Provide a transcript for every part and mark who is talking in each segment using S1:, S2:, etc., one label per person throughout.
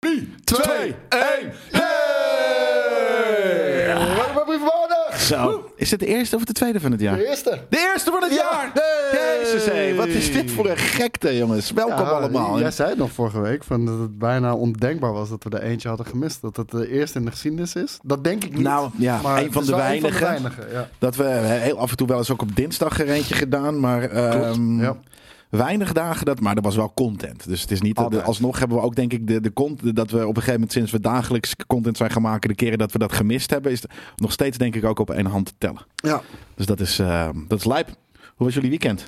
S1: 3, 2, 1. Hey!
S2: Waar waar ben je vandaag?
S1: Zo. Is het de eerste of de tweede van het jaar?
S2: De eerste.
S1: De eerste van het
S2: Ja.
S1: jaar!
S2: Hey!
S1: Jezus, hé, wat is dit voor een gekte, jongens? Welkom
S2: Ja,
S1: allemaal.
S2: Jij zei het nog vorige week van dat het bijna ondenkbaar was dat we er eentje hadden gemist. Dat het de eerste in de geschiedenis is. Dat denk ik niet.
S1: Nou, ja,
S2: maar
S1: een
S2: het
S1: van
S2: is
S1: de
S2: wel
S1: weinigen.
S2: Een van de weinigen, ja.
S1: Dat we eh, heel af en toe wel eens ook op dinsdag er eentje gedaan, maar ehm,
S2: ja.
S1: weinig dagen dat. Maar er was wel content. Dus het is niet.
S2: Altijd.
S1: alsnog hebben we ook denk ik de, de content dat we op een gegeven moment sinds we dagelijks content zijn gaan maken, de keren dat we dat gemist hebben, is het nog steeds denk ik ook op één hand te tellen.
S2: Ja.
S1: Dus dat is, ehm, dat is lijp. Hoe was jullie weekend?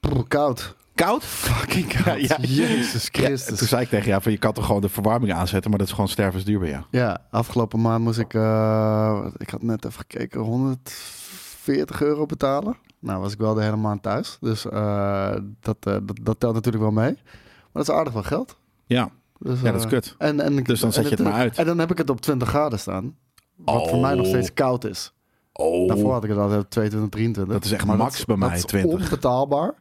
S2: Brr, koud.
S1: Koud?
S2: Fucking
S1: koud.
S2: Jezus
S1: Ja,
S2: Christus.
S1: toen
S2: Ja,
S1: zei ik tegen jou, van, je kan toch gewoon de verwarming aanzetten, maar dat is gewoon stervensduur bij jou.
S2: afgelopen maand moest ik, eh, ik had net even gekeken, 140 euro betalen. Nou was ik wel de hele maand thuis. Dus eh, dat, eh, dat, dat telt natuurlijk wel mee. Maar dat is aardig wel geld.
S1: Ja,
S2: Dus,
S1: ja dat is
S2: eh,
S1: kut.
S2: En, en,
S1: Dus dan zet
S2: en
S1: je het maar uit.
S2: En dan heb ik het op 20 graden staan. Wat voor mij nog steeds koud is.
S1: Oh.
S2: Daarvoor had ik het altijd op 22, 23.
S1: Dat is echt
S2: Maar
S1: max bij mij,
S2: dat is
S1: 20.
S2: onbetaalbaar.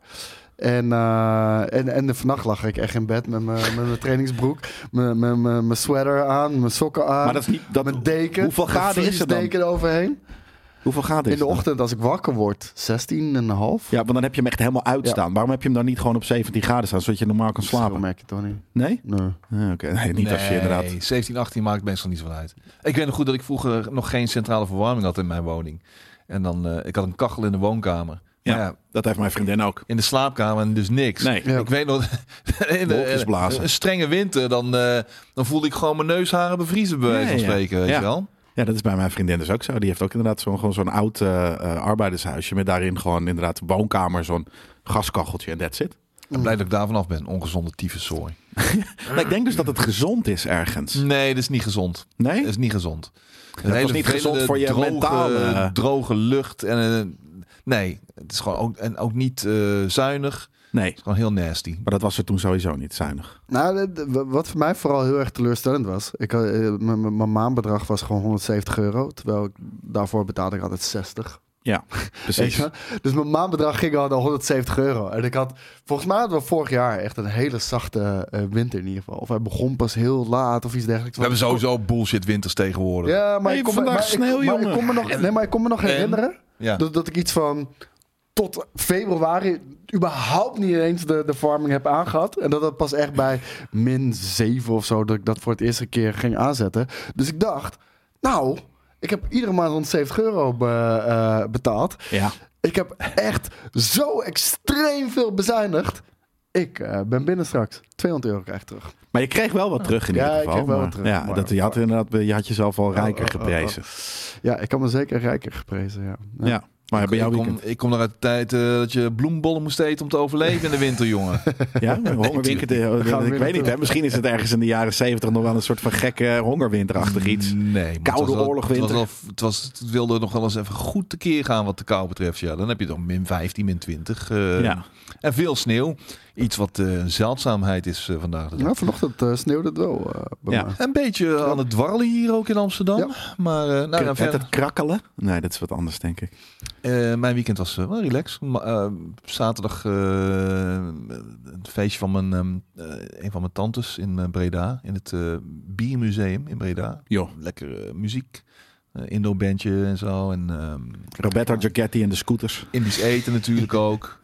S2: En, eh, en, en vannacht lag ik echt in bed met mijn met mijn trainingsbroek. mijn- Mijn mijn- mijn sweater aan, mijn sokken aan.
S1: Maar dat is niet. Dat,
S2: mijn deken.
S1: Hoeveel
S2: mijn
S1: graden is het dan?
S2: deken eroverheen.
S1: Hoeveel graden is
S2: In de
S1: het dan?
S2: ochtend als ik wakker word, 16,5.
S1: Ja, want dan heb je hem echt helemaal uitstaan. Waarom heb je hem dan niet gewoon op 17 graden staan, zodat je normaal kan
S2: Zo
S1: slapen?
S2: merk je toch niet.
S1: Nee?
S2: Nee.
S1: Ah, Oké, nee, niet als je inderdaad...
S3: 17, 18 maakt meestal niet zoveel uit. Ik weet nog goed dat ik vroeger nog geen centrale verwarming had in mijn woning. En dan, eh, ik had een kachel in de woonkamer.
S1: Ja.
S3: Ja. ja,
S1: Dat heeft mijn vriendin ook.
S3: in de slaapkamer dus niks.
S1: Nee.
S2: Ja.
S3: Ik weet nog, in
S1: Wolkjes blazen.
S3: een strenge winter, dan, eh, dan voelde ik gewoon mijn neusharen bevriezen, bij wijze van
S1: Ja, ja.
S3: spreken, weet
S1: Ja.
S3: je wel.
S1: Ja, dat is bij mijn vriendin dus ook zo. Die heeft ook inderdaad zo'n, gewoon zo'n oud eh, eh, arbeidershuisje met daarin gewoon inderdaad een woonkamer, zo'n gaskacheltje en that's it.
S3: Ik ben blij dat ik daar vanaf ben. Ongezonde tyfuszooi.
S1: Maar ik denk dus dat het gezond is
S2: Mm.
S1: ergens.
S3: Nee, dat is niet gezond.
S1: Nee?
S3: Dat is niet gezond. Dat
S1: is niet gezond voor je
S3: droge,
S1: mentale-
S3: droge lucht. En, eh, nee, het is gewoon ook, en ook niet eh, zuinig. Het
S1: Nee.
S3: is gewoon heel nasty.
S1: Maar dat was er toen sowieso niet zuinig.
S2: Nou, de- de- wat voor mij vooral heel erg teleurstellend was. Ik, had, eh, mijn- mijn mijn maandbedrag was gewoon 170 euro. Terwijl ik daarvoor betaalde ik altijd 60.
S1: Ja,
S2: Weet
S1: precies.
S2: je? Dus mijn maandbedrag ging al naar 170 euro. En ik had, volgens mij hadden we vorig jaar echt een hele zachte eh, winter in ieder geval. Of hij begon pas heel laat of iets dergelijks.
S3: We hebben sowieso bullshit winters tegenwoordig.
S2: Ja, maar
S1: Hey,
S2: ik kon me-
S1: vandaag
S2: maar ik-
S1: sneeuw,
S2: maar ik
S1: jongen.
S2: kon me nog- Nee, maar ik kon me nog
S3: En?
S2: herinneren
S3: Ja.
S2: dat, dat ik iets van tot februari überhaupt niet eens de, de farming heb aangehad. En dat dat pas echt bij min 7 of zo, dat ik dat voor het eerste keer ging aanzetten. Dus ik dacht, nou, ik heb iedere maand 170 euro be- eh, betaald.
S1: Ja.
S2: Ik heb echt zo extreem veel bezuinigd. Ik eh, ben binnen straks. 200 euro krijg ik terug.
S1: Maar je kreeg wel wat terug in
S2: Ja,
S1: ieder
S2: ik
S1: geval.
S2: kreeg wel
S1: maar-
S2: wat terug,
S1: Ja,
S2: maar-
S1: dat, je, had inderdaad, je had jezelf al rijker
S2: oh, oh, oh.
S1: geprezen.
S2: Ja, ik kan me zeker rijker geprezen, ja.
S1: Ja. Maar bij jouw
S3: ik, kom,
S1: weekend?
S3: ik kom nog uit de tijd eh, dat je bloembollen moest eten om te overleven in de winter, jongen.
S1: Ja, hongerwinter.
S2: gaan we
S1: ik weet niet,
S2: weer
S1: hè?
S2: naartoe.
S1: misschien is het ergens in de jaren zeventig nog wel een soort van gekke hongerwinterachtig iets.
S2: Mm.
S3: Nee. maar
S1: Koude
S3: het was wel-
S1: oorlog
S3: het was
S1: winter.
S3: wel- Het, was, het wilde nog wel eens even goed tekeer gaan wat de kou betreft. Ja, dan heb je dan min 15, min 20. eh,
S1: Ja.
S2: Nou,
S3: En veel sneeuw. Iets wat eh, een zeldzaamheid is eh, vandaag de dag.
S2: Nou, vanochtend eh, sneeuwde het wel eh, bij
S1: Ja.
S2: mij.
S3: Een beetje aan het dwarrelen hier ook in Amsterdam.
S2: Ja.
S3: Maar eh, nou, ja,
S1: Heet
S3: verder,
S1: het krakkelen? Nee, dat is wat anders, denk ik.
S3: eh, mijn weekend was eh, wel relaxed. Ma- eh, zaterdag eh, een feestje van mijn, ehm, eh, een van mijn tantes in eh, Breda. In het eh, Biermuseum in Breda.
S1: Joh.
S3: Lekkere muziek. eh Indo-bandje en zo. En ehm,
S1: Roberto Giacchetti en de scooters.
S3: Indisch eten natuurlijk ook.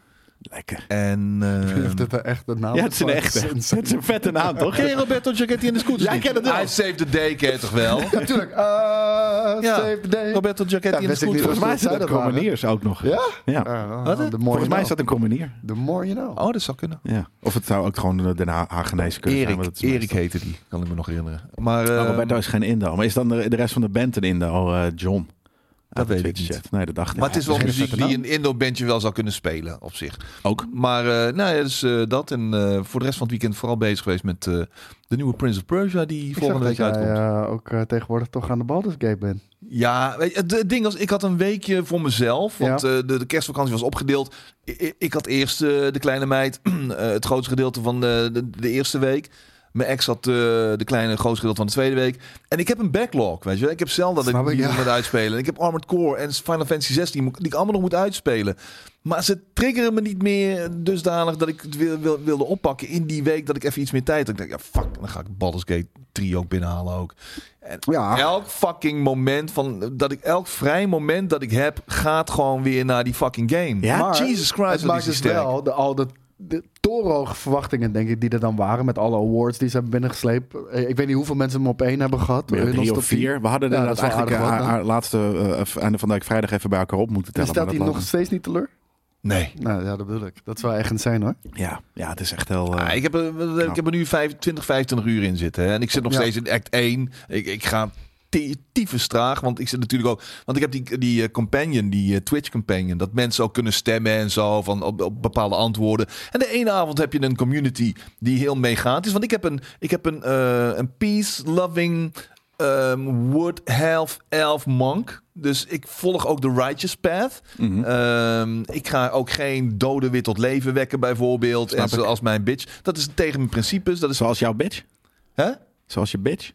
S1: Lekker.
S3: En... eh,
S2: Heeft dit een echt Oh, een naam?
S1: Ja, het is een echte. Het
S2: Sinds-
S1: is een vette naam, toch?
S3: Ken je Roberto Giacchetti in de scooters?
S1: Jij
S3: niet?
S1: kent het wel.
S3: I saved the day, ken je toch wel?
S2: Ja, tuurlijk. Eh,
S3: Ja.
S2: save the day.
S3: Roberto
S2: Ja,
S3: Giacchetti in de
S2: wist ik niet.
S3: scooters.
S1: Volgens mij is
S2: Zij
S1: dat
S2: dat waren.
S1: Comeniers ook nog.
S2: Ja?
S1: Ja.
S2: Ah,
S3: Wat?
S2: de mooie
S1: Volgens mij is
S2: naam.
S1: dat een Comenier.
S2: The more you know.
S3: Oh, dat zou kunnen.
S1: Ja. Of het zou ook gewoon de Den Haagenese kunnen zijn. want
S3: Erik,
S1: dat is
S3: Erik heette die, kan ik me nog herinneren. Maar
S1: Oh,
S3: eh,
S1: Roberto is geen Indo. Maar is dan de, de rest van de band een Indo? eh, John. Uit de
S3: weet ik
S1: Twitch-chat.
S3: niet.
S1: Nee, dat dacht ik.
S3: maar het
S2: dus
S3: is wel
S1: Misschien
S3: muziek
S1: dat
S3: die
S1: dan-
S3: een Indo-bandje wel zou kunnen spelen op zich.
S1: Ook.
S3: Maar eh, nou ja, dus eh, dat. En eh, voor de rest van het weekend vooral bezig geweest met eh, de nieuwe Prince of Persia die
S2: Ik
S3: volgende
S2: zag
S3: week
S2: dat
S3: uitkomt.
S2: jij, eh, ook eh, tegenwoordig toch aan de Baldur's Gate bent.
S3: Ja, weet je, het, het ding was, ik had een weekje voor mezelf. Want
S2: Ja.
S3: eh, de, de kerstvakantie was opgedeeld. I- i- ik had eerst eh, de kleine meid, eh, het grootste gedeelte van de, de, de eerste week. Mijn ex had eh, de kleine grootste gedeelte van de tweede week. En ik heb een backlog, weet je wel. Ik heb Zelda dat ik
S2: Snap ik,
S3: niet
S2: ja.
S3: moet uitspelen. En ik heb Armored Core en Final Fantasy 16 moet- die ik allemaal nog moet uitspelen. Maar ze triggeren me niet meer dusdanig dat ik het wil, wil- wilde oppakken in die week dat ik even iets meer tijd had. Ik dacht, ja fuck, dan ga ik Baldur's Gate 3 ook binnenhalen ook. En
S2: Ja.
S3: elk fucking moment van dat ik elk vrij moment dat ik heb gaat gewoon weer naar die fucking game.
S1: Ja?
S2: Maar
S3: Jesus Christ,
S2: het
S3: wat
S2: maakt
S3: is die
S2: dus
S3: sterk.
S2: wel de, al de, de torenhoge verwachtingen, denk ik, die er dan waren. Met alle awards die ze hebben binnengesleept. Eh, Ik weet niet hoeveel mensen hem op één hebben gehad.
S1: Ja,
S2: in ons
S1: drie
S2: top
S1: of
S2: 10.
S1: vier. We hadden
S2: Ja,
S1: inderdaad
S2: dat is wel
S1: eigenlijk haar,
S2: aardig wat,
S1: haar laatste eh, einde van de week vrijdag even bij elkaar op moeten
S2: En
S1: tellen.
S2: staat
S1: maar
S2: hij
S1: dat
S2: nog steeds niet teleur?
S3: Nee.
S2: Nou ja, dat bedoel ik. Dat zou echt zijn hoor.
S1: Ja, ja, het is echt heel... eh,
S3: Ah, ik, heb er, ik heb er nu 20, 25 uur in zitten. Hè? En ik zit nog
S2: Ja.
S3: steeds in act 1. Ik, ik ga ti- tyfus traag, want ik zit natuurlijk ook... Want ik heb die, die eh, companion, die eh, Twitch companion... dat mensen ook kunnen stemmen en zo van, op, op bepaalde antwoorden. En de ene avond heb je een community die heel meegaand is. Want ik heb een, ik heb een, eh, een peace-loving... ehm, wood health elf monk. Dus ik volg ook de righteous path.
S1: mhm.
S3: Ehm, ik ga ook geen doden weer tot leven wekken, bijvoorbeeld.
S1: Snap
S3: en
S1: ik.
S3: zoals mijn bitch. Dat is tegen mijn principes. Dat is.
S1: Zoals jouw bitch?
S3: Hè?
S1: Zoals je bitch?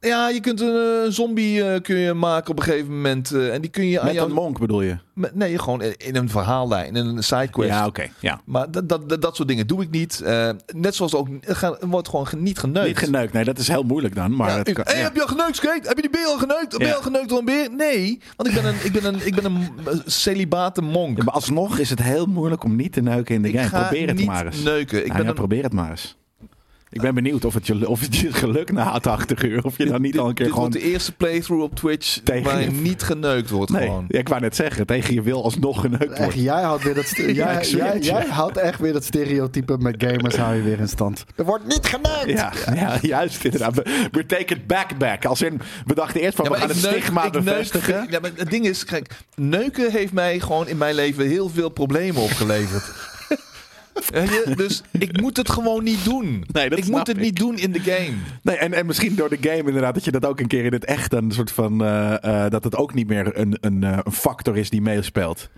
S3: Ja, je kunt een eh, zombie eh, kun je maken op een gegeven moment. eh, en die kun je aan
S1: Met
S3: jou.
S1: een monk bedoel je?
S3: Met- nee, gewoon in- in een verhaallijn, in een sidequest.
S1: Ja, oké. Ja.
S3: Maar dat, dat, dat, dat soort dingen doe ik niet. Eh, net zoals ook. Er gaat- er wordt gewoon ge- niet geneukt.
S1: Niet geneukt. Nee, dat is heel moeilijk dan. Maar
S3: Ja,
S1: het
S3: ik-
S1: kan-
S3: hey,
S1: ja.
S3: heb je al geneukt, Skate? Heb je die beer al geneukt? Ben je
S1: Ja.
S3: al geneukt door een beer? Nee, want ik ben een, ik ben een, ik ben een eh, celibate monk.
S1: Ja, maar alsnog is het heel moeilijk om niet te neuken in de
S3: ik
S1: game.
S3: ga
S1: Probeer het
S3: niet
S1: maar eens.
S3: neuken. Ik
S1: Nou
S3: ben
S1: ja,
S3: een
S1: probeer het maar eens. Ik ben benieuwd of het je, of het je geluk na het 80 uur. Of je dan niet al een keer
S3: Dit
S1: gewoon...
S3: wordt de eerste playthrough op Twitch
S1: Tegen
S3: waar je
S1: je-
S3: niet geneukt wordt
S1: Nee,
S3: gewoon.
S1: ja, ik wou net zeggen. Tegen je wil alsnog geneukt
S2: Echt,
S1: worden.
S2: jij houdt weer dat, st-
S1: Ja,
S2: jij,
S1: ik zweer
S2: jij,
S1: het je.
S2: jij houdt echt weer dat stereotype met gamers hou je weer in stand. Er wordt niet geneukt!
S1: Ja, ja, juist inderdaad. We, we take it back back. Als in, we dachten eerst van,
S3: Ja,
S1: we
S3: maar
S1: gaan
S3: ik
S1: het
S3: neuk-
S1: stigma
S3: ik neuk-
S1: bevestigen.
S3: ja, maar het ding is, kijk, neuken heeft mij gewoon in mijn leven heel veel problemen opgeleverd. Weet je, dus ik moet het gewoon niet doen.
S1: Nee, dat
S3: ik
S1: snap
S3: moet het
S1: ik.
S3: niet doen in de game.
S1: Nee, en, en misschien door de game inderdaad, dat je dat ook een keer in het echt een soort van. eh, eh, dat het ook niet meer een, een, eh, een factor is die meespeelt.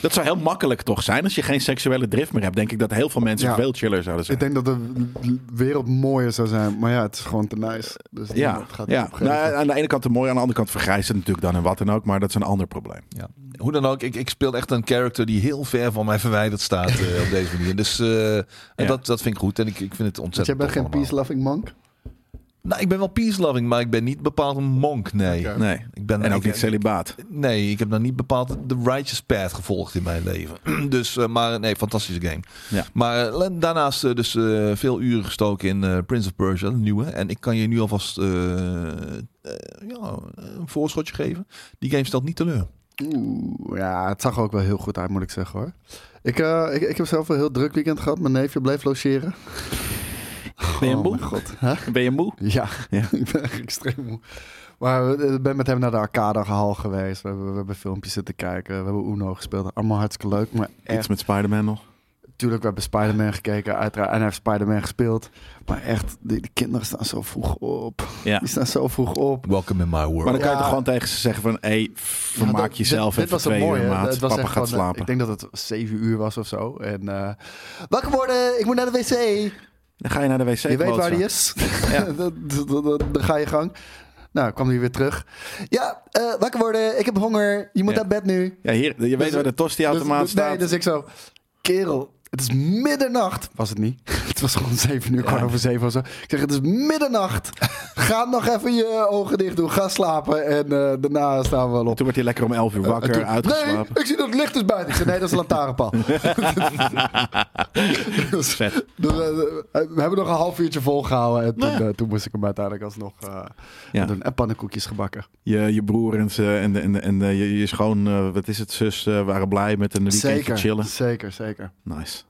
S1: Dat zou heel makkelijk toch zijn. Als je geen seksuele drift meer hebt, denk ik dat heel veel mensen
S2: Ja.
S1: veel chiller zouden zijn.
S2: Ik denk dat de wereld mooier zou zijn, maar ja, het is gewoon te nice. Dus
S1: ja,
S2: niemand gaat
S1: ja.
S2: het opgeven.
S1: Nou, aan de ene kant te mooi, aan de andere kant vergrijst het natuurlijk dan en wat dan ook. Maar dat is een ander probleem.
S3: Ja. Hoe dan ook, ik, ik speel echt een character die heel ver van mij verwijderd staat eh, op deze manier. Dus eh, en
S1: Ja.
S3: dat, dat vind ik goed en ik, ik vind het
S2: Want
S3: ontzettend
S2: jij bent
S3: tof
S2: geen
S3: allemaal.
S2: peace-loving monk?
S3: Nou, ik ben wel peace-loving, maar ik ben niet bepaald een monk, nee.
S2: Oké.
S1: Nee.
S3: Ik ben,
S1: En ook
S3: ik-
S1: niet celibaat.
S3: Nee, ik heb nog niet bepaald de righteous path gevolgd in mijn leven. dus, eh, maar nee, fantastische game.
S1: Ja.
S3: Maar eh, daarnaast eh, dus eh, veel uren gestoken in eh, Prince of Persia, de nieuwe. En ik kan je nu alvast eh, eh, ja, een voorschotje geven. Die game stelt niet teleur.
S2: Oeh, ja, het zag er ook wel heel goed uit, moet ik zeggen hoor. Ik, eh, ik, ik heb zelf een heel druk weekend gehad. Mijn neefje bleef logeren.
S1: Ben je
S2: oh,
S1: moe?
S2: mijn god. Huh?
S1: Ben je moe?
S2: Ja,
S1: Ja.
S2: ik ben echt extreem moe. Maar we- ik ben met hem naar de arcadehal geweest. We hebben, we hebben filmpjes zitten kijken. We hebben Uno gespeeld. Allemaal hartstikke leuk. Maar
S1: Iets
S2: echt,
S1: met Spider-Man nog.
S2: natuurlijk, we hebben Spider-Man gekeken. Uiteraard. En hij heeft Spider-Man gespeeld. Maar echt, die, die kinderen staan zo vroeg op.
S1: Ja.
S2: Die staan zo vroeg op.
S3: Welcome in my
S1: Maar
S3: world.
S1: dan kan je
S2: Ja.
S1: toch gewoon tegen ze zeggen van... Hé, hey, vermaak
S2: Ja, dat-
S1: jezelf
S2: dit-
S1: even
S2: dit was het
S1: twee
S2: mooie,
S1: uur,
S2: hè.
S1: maat.
S2: Het was
S1: Papa
S2: echt
S1: gaat
S2: van, eh, Ik
S1: slapen.
S2: denk dat het zeven uur was of zo. En eh, wakker worden, ik moet naar de wc.
S1: Dan ga je naar de wc.
S2: je weet waar
S1: klootzak.
S2: die is. Dan- dan- dan- dan ga je gang. Nou, kwam hij weer terug. Ja, eh, wakker worden, ik heb honger. Je moet
S1: Ja.
S2: naar bed nu.
S1: Ja, hier, je weet waar de tosti-automaat
S2: dus,
S1: staat.
S2: Nee, dus ik zo... Kerel, het is middernacht. Was het niet. Het was gewoon zeven uur, kwart over zeven of zo. Ik zeg, het is middernacht. Ga nog even je ogen dicht doen. Ga slapen en eh, daarna staan we wel op.
S1: Toen werd hij lekker om 11 uur wakker,
S2: En Eh, toen-
S1: uitgeslapen.
S2: Nee, ik zie dat het licht is buiten. Ik zei, nee, dat is een lantaarnpaal. dus,
S1: Vet.
S2: dus, eh, we hebben nog een half uurtje volgehouden. En toen, eh, toen moest ik hem uiteindelijk alsnog eh
S1: Ja.
S2: doen. En pannenkoekjes gebakken.
S1: Je, je broer en, ze, en, en, en eh, je, je schoon, eh, wat is het, zus, eh, waren blij met een weekendje
S2: Zeker,
S1: chillen.
S2: zeker, zeker.
S1: Nice.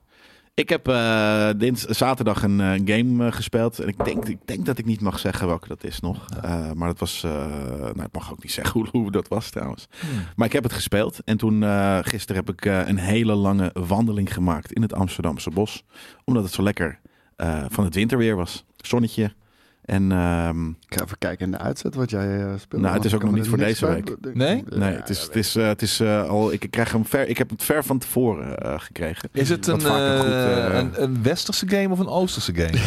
S1: Ik heb eh, dins, zaterdag een eh, game eh, gespeeld. En ik denk, ik denk dat ik niet mag zeggen welke dat is nog. Eh, maar dat was... eh nou, ik mag ook niet zeggen hoe, hoe dat was trouwens.
S3: Hmm.
S1: Maar ik heb het gespeeld. En toen eh, gisteren heb ik eh, een hele lange wandeling gemaakt in het Amsterdamse bos. Omdat het zo lekker eh, van het winterweer was. Zonnetje. En ehm,
S2: Ik ga even kijken in de uitzet wat jij eh, speelt.
S1: Nou, het is ook
S2: Ik kan
S1: nog niet
S2: er
S1: voor
S2: niks
S1: deze
S2: bij-
S3: week. Nee?
S1: nee, het is, het is, eh, het is eh, al. Ik, krijg hem ver. Ik heb het ver van tevoren eh, gekregen.
S3: Is het
S1: Wat
S3: een,
S1: vaak een goed,
S3: eh,
S1: eh,
S3: een, een westerse game of een oosterse game?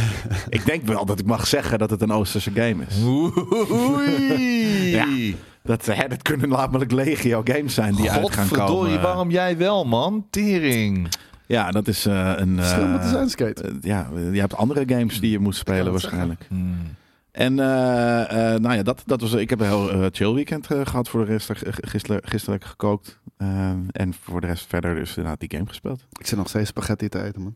S1: Ik denk wel dat ik mag zeggen dat het een Oosterse game is.
S3: Oei.
S1: Ja. Dat, hè, dat kunnen namelijk legio games zijn die uit gaan
S3: Godverdorie,
S1: komen.
S3: waarom jij wel, man? Tering.
S1: Ja, dat is eh, een. eh,
S2: Slim met de zijnskate.
S1: eh, ja, je hebt andere games die je moet spelen waarschijnlijk.
S3: Hmm.
S1: En eh, eh, nou ja, dat, dat was, ik heb een heel eh, chill weekend eh, gehad voor de rest. Eh, Gisteren, gisteren heb ik gekookt. Eh, en voor de rest verder dus inderdaad die game gespeeld.
S2: Ik zit nog steeds spaghetti te eten, man.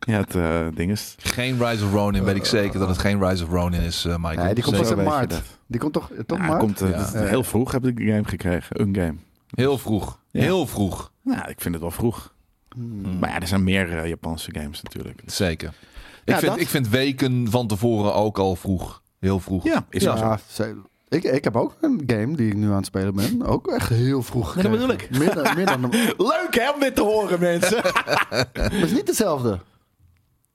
S1: Ja, het eh, ding is...
S3: Geen Rise of Ronin, weet ik zeker dat het geen Rise of Ronin is, eh, Michael.
S2: Nee, die komt
S1: Zo
S2: pas in
S1: weet je
S2: maart.
S1: dat.
S2: Die komt toch, eh, toch
S1: Ja,
S2: maart?
S1: komt, eh,
S3: Ja.
S1: dat- Heel vroeg heb ik die game gekregen. Een game.
S3: Heel vroeg.
S1: Ja.
S3: Heel vroeg.
S1: Nou, ik vind het wel vroeg.
S2: Hmm.
S1: Maar ja, er zijn meer eh, Japanse games natuurlijk.
S3: Zeker.
S1: Ja,
S3: ik, vind,
S1: dat-
S3: ik vind weken van tevoren ook al vroeg. Heel vroeg.
S1: Ja, is
S2: ja,
S1: wel zo.
S2: ze- ik, ik heb ook een game die ik nu aan het spelen ben. Ook echt heel vroeg.
S1: Nee, dat
S2: gekregen.
S1: bedoel
S2: Meer dan, meer dan de-
S1: Leuk hè om dit te horen, mensen.
S2: maar het is niet dezelfde.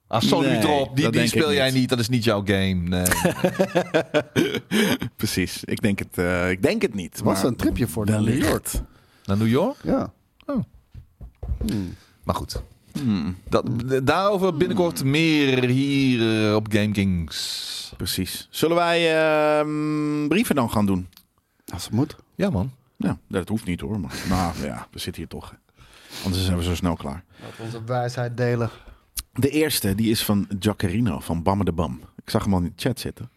S3: Ah, zo
S1: Nee,
S3: nu erop. Die,
S1: dat
S3: die
S1: denk ik
S3: speel jij
S1: niet.
S3: niet. Dat is niet jouw game. Nee.
S1: Precies. Ik denk het, eh, ik denk het niet.
S2: Het was
S1: maar
S2: een tripje voor naar New
S1: wellicht.
S2: York.
S3: Naar New York?
S2: Ja.
S3: Oh.
S2: Hmm.
S3: Maar goed.
S1: Hmm,
S3: Dat, daarover binnenkort meer hier eh, op GameKings.
S1: precies. Zullen wij ehm, brieven dan gaan doen?
S2: Als het moet.
S3: Ja, man.
S1: Ja, dat hoeft niet hoor. Maar nou ja, we zitten hier toch. hè. Anders zijn we zo snel klaar.
S2: Laten we onze wijsheid delen.
S1: De eerste, die is van Giacarino van Bamme de Bam. Ik zag hem al in de chat zitten.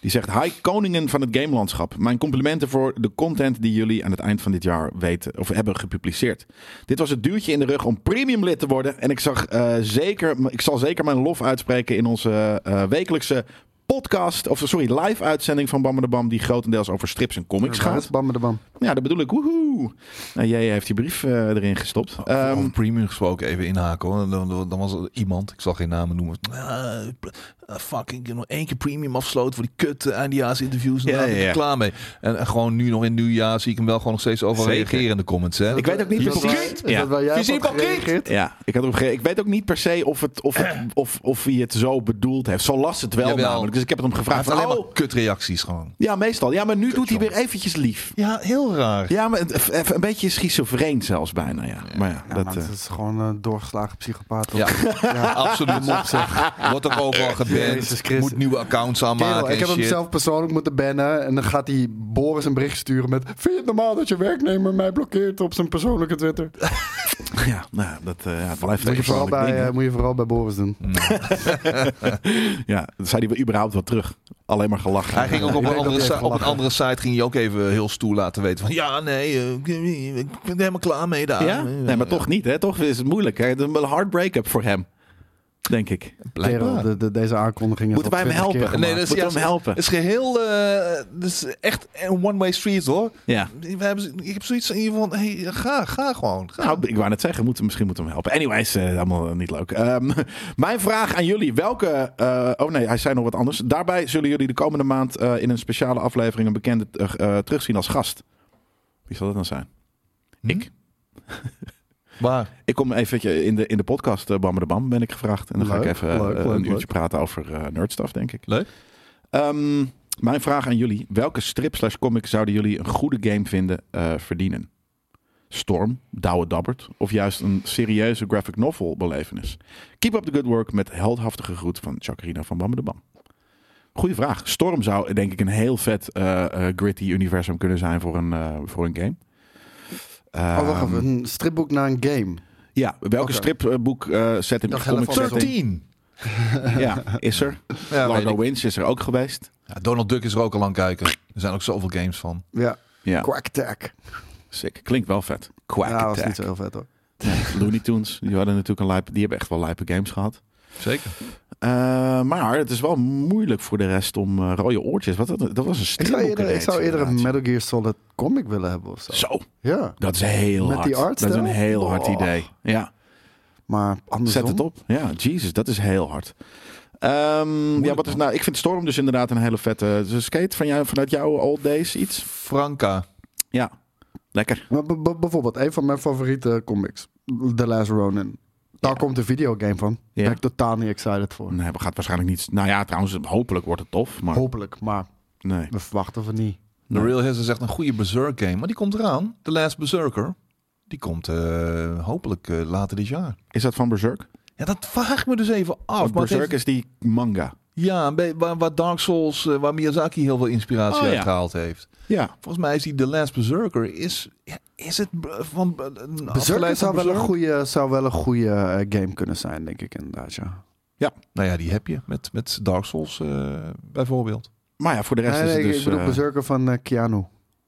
S1: Die zegt, hi koningen van het gamelandschap. Mijn complimenten voor de content die jullie aan het eind van dit jaar weten, of hebben gepubliceerd. Dit was het duwtje in de rug om premium lid te worden. En ik, zag, eh, zeker, ik zal zeker mijn lof uitspreken in onze eh, wekelijkse podcast, of sorry, live uitzending van Bamme de Bam, die grotendeels over strips en comics gaat.
S2: Bam met de bam.
S1: Ja, dat bedoel ik. Woehoe. Nou, jij heeft die brief eh, erin gestopt. Ehm,
S3: Over premium gesproken, even inhaken hoor. Dan, dan- dan was er iemand, ik zal geen namen noemen. Ah, pr- ah, fuck, ik heb nog één keer premium afsloten voor die kut eh, eindejaarsinterviews. En
S1: Ja,
S3: daar ben
S1: ja,
S3: ik
S1: ja.
S3: klaar mee. En, en gewoon nu nog in het nieuwjaar zie ik hem wel gewoon nog steeds over
S1: Zeker.
S3: reageren in de comments. Hè?
S1: Ik weet ook niet
S2: Is
S1: of
S2: dat
S1: het-
S2: waar-
S1: Ja.
S2: Is dat waar jij op
S3: Fysiek
S2: hebt
S3: ook niet.
S2: gereageerd?
S1: Ja, ik, had erop ge- ik weet ook niet per se of, het, of, het, of, of hij het zo bedoeld heeft. Zo las het wel
S3: Jawel.
S1: namelijk. Dus ik heb het hem
S3: Hij
S1: gevraagd.
S3: heeft
S1: Van,
S3: alleen
S1: oh,
S3: maar kutreacties gewoon.
S1: ja, meestal. Ja, maar nu doet hij
S3: jongen.
S1: weer eventjes lief.
S3: Ja, heel raar.
S1: Ja, maar het- even een beetje schizofreen zelfs bijna. Ja. Maar ja,
S2: Ja,
S1: dat,
S2: maar
S1: eh,
S2: het is gewoon een doorgeslagen psychopaat. toch?
S3: Ja,
S2: Ja.
S3: absoluut. Wordt ook overal
S2: Jezus
S3: geband.
S2: Christus.
S3: Moet nieuwe accounts aanmaken
S2: Kerel, ik
S3: en
S2: heb hem
S3: shit.
S2: zelf persoonlijk moeten bannen. En dan gaat hij Boris een bericht sturen met... Vind je het normaal dat je werknemer mij blokkeert op zijn persoonlijke Twitter?
S1: ja, nou, ja, dat eh, ja, het blijft
S2: Moet je,
S1: een
S2: vooral
S1: persoonlijk
S2: bij,
S1: ding, hè. Mm.
S2: eh, moet je vooral bij Boris doen.
S1: Ja, dan zei hij wel überhaupt wat terug. Alleen maar gelachen.
S3: Hij ging ook
S2: Ik
S3: op een,
S2: denk
S3: andere,
S2: dat hij
S3: si-
S2: heeft
S3: op een andere site ging je ook even heel stoer laten weten van ja, nee, eh, ik ben- ik ben er helemaal klaar mee daar.
S1: Ja? Nee, maar toch niet. Hè? Toch is het moeilijk. Hè? Het is Een hard break-up voor hem. Denk ik.
S2: Kerel,
S3: dus
S2: de, de- deze aankondiging is
S1: Moeten
S2: al
S1: wij hem
S2: 20 keer
S1: helpen?
S3: Nee,
S2: gemaakt.
S3: dat is,
S1: Moeten
S3: ja,
S1: we hem helpen?
S3: Het is geheel, eh, dat is echt een one-way street hoor.
S1: Ja.
S3: We hebben, z- ik heb zoiets in ieder geval, hey, ga, ga gewoon. Ga.
S1: Nou, ik wou net zeggen, moeten, misschien moeten we hem helpen. Anyways, eh, allemaal eh, niet leuk. Ehm, mijn vraag aan jullie. Welke... eh, oh nee, hij zei nog wat anders. Daarbij zullen jullie de komende maand eh, in een speciale aflevering een bekende eh, eh, terugzien als gast. Wie zal dat dan zijn?
S3: Hm?
S1: Ik.
S3: Maar
S1: Ik kom even in de, in de podcast eh, Bam de Bam ben ik gevraagd. En dan ga ik
S2: Leuk,
S1: even
S2: leuk,
S1: eh,
S2: leuk,
S1: een
S2: leuk.
S1: uurtje praten over eh, nerdstuff, denk ik.
S3: Leuk.
S1: Ehm, mijn vraag aan jullie. Welke strip slash comic zouden jullie een goede game vinden eh, verdienen? Storm, Douwe Dabbert of juist een serieuze graphic novel belevenis? Keep up the good work met heldhaftige groet van Chacarino van Bam de Bam. Goeie vraag. Storm zou denk ik een heel vet eh, eh, gritty universum kunnen zijn voor een, eh, voor een game.
S2: Oh, wacht
S1: Ehm,
S2: even. Een stripboek naar een game.
S1: ja, welke
S2: Oké.
S1: stripboek eh zet in
S2: Dat
S1: of
S2: geldt
S1: comic
S2: wel
S1: setting?
S3: 13.
S1: Ja, is er.
S3: Ja, weet
S1: Largo
S3: ik.
S1: Wins is er ook geweest.
S3: Ja, Donald Duck is er ook al lang kijken. Er zijn ook zoveel games van.
S2: Ja,
S1: Ja,
S2: Quack Attack.
S1: sick. Klinkt wel vet. Quack
S2: Ja, dat was
S1: Attack.
S2: niet zo heel vet hoor.
S1: Nee, Looney Tunes, die hadden natuurlijk een lijpe, die hebben echt wel lijpe games gehad.
S3: Zeker.
S1: Eh, maar het is wel moeilijk voor de rest om eh, rode oortjes. Wat, dat, dat was een
S2: Ik zou eerder, ik
S1: stripboekenreeks
S2: zou eerder een
S1: inderdaad.
S2: Metal Gear Solid comic willen hebben of zo.
S1: Zo,
S2: Ja,
S1: dat is heel
S2: Met
S1: hard.
S2: die
S1: dat is een
S2: artstijl?
S1: heel hard
S2: Oh.
S1: idee. Ja,
S2: maar andersom.
S1: zet het op. Ja, Jesus, dat is heel hard. Ehm, ja, wat is nou? Ik vind Storm dus inderdaad een hele vette. Dus skate van jou, vanuit jouw old days iets?
S3: Franka.
S1: Ja, lekker.
S2: Maar b- b- bijvoorbeeld, een van mijn favoriete comics. The Last Ronin. Daar komt de videogame van. Daar
S1: Ja.
S2: ben ik totaal niet excited voor.
S1: Nee, we gaan het waarschijnlijk niet... Nou ja, trouwens, hopelijk wordt het tof, maar
S2: Hopelijk, maar
S1: nee.
S2: we verwachten van niet.
S3: The Real Hazard is echt een goede Berserk game. Maar die komt eraan. The Last Berserker. Die komt eh, hopelijk eh, later dit jaar.
S1: Is dat van Berserk?
S3: Ja, dat vraag ik me dus even af.
S1: Of
S3: maar het
S1: Berserk
S3: heeft-
S1: is die manga.
S3: Ja, een be- waar, waar Dark Souls, eh, waar Miyazaki heel veel inspiratie
S1: Oh,
S3: uit
S1: ja.
S3: gehaald heeft.
S1: Ja.
S3: Volgens mij is die The Last Berserker, is, ja, is het b- van... b- een
S2: Berserker
S3: afgeleid van
S2: zou wel, een
S3: Berserk?
S2: goede, zou wel een goede eh, game kunnen zijn, denk ik inderdaad, ja.
S3: Nou ja, die heb je met, met Dark Souls eh, bijvoorbeeld.
S1: Maar ja, voor de rest
S2: Nee,
S1: is
S2: nee,
S1: het dus...
S2: ik bedoel
S1: eh,
S2: Berserker van eh, Keanu.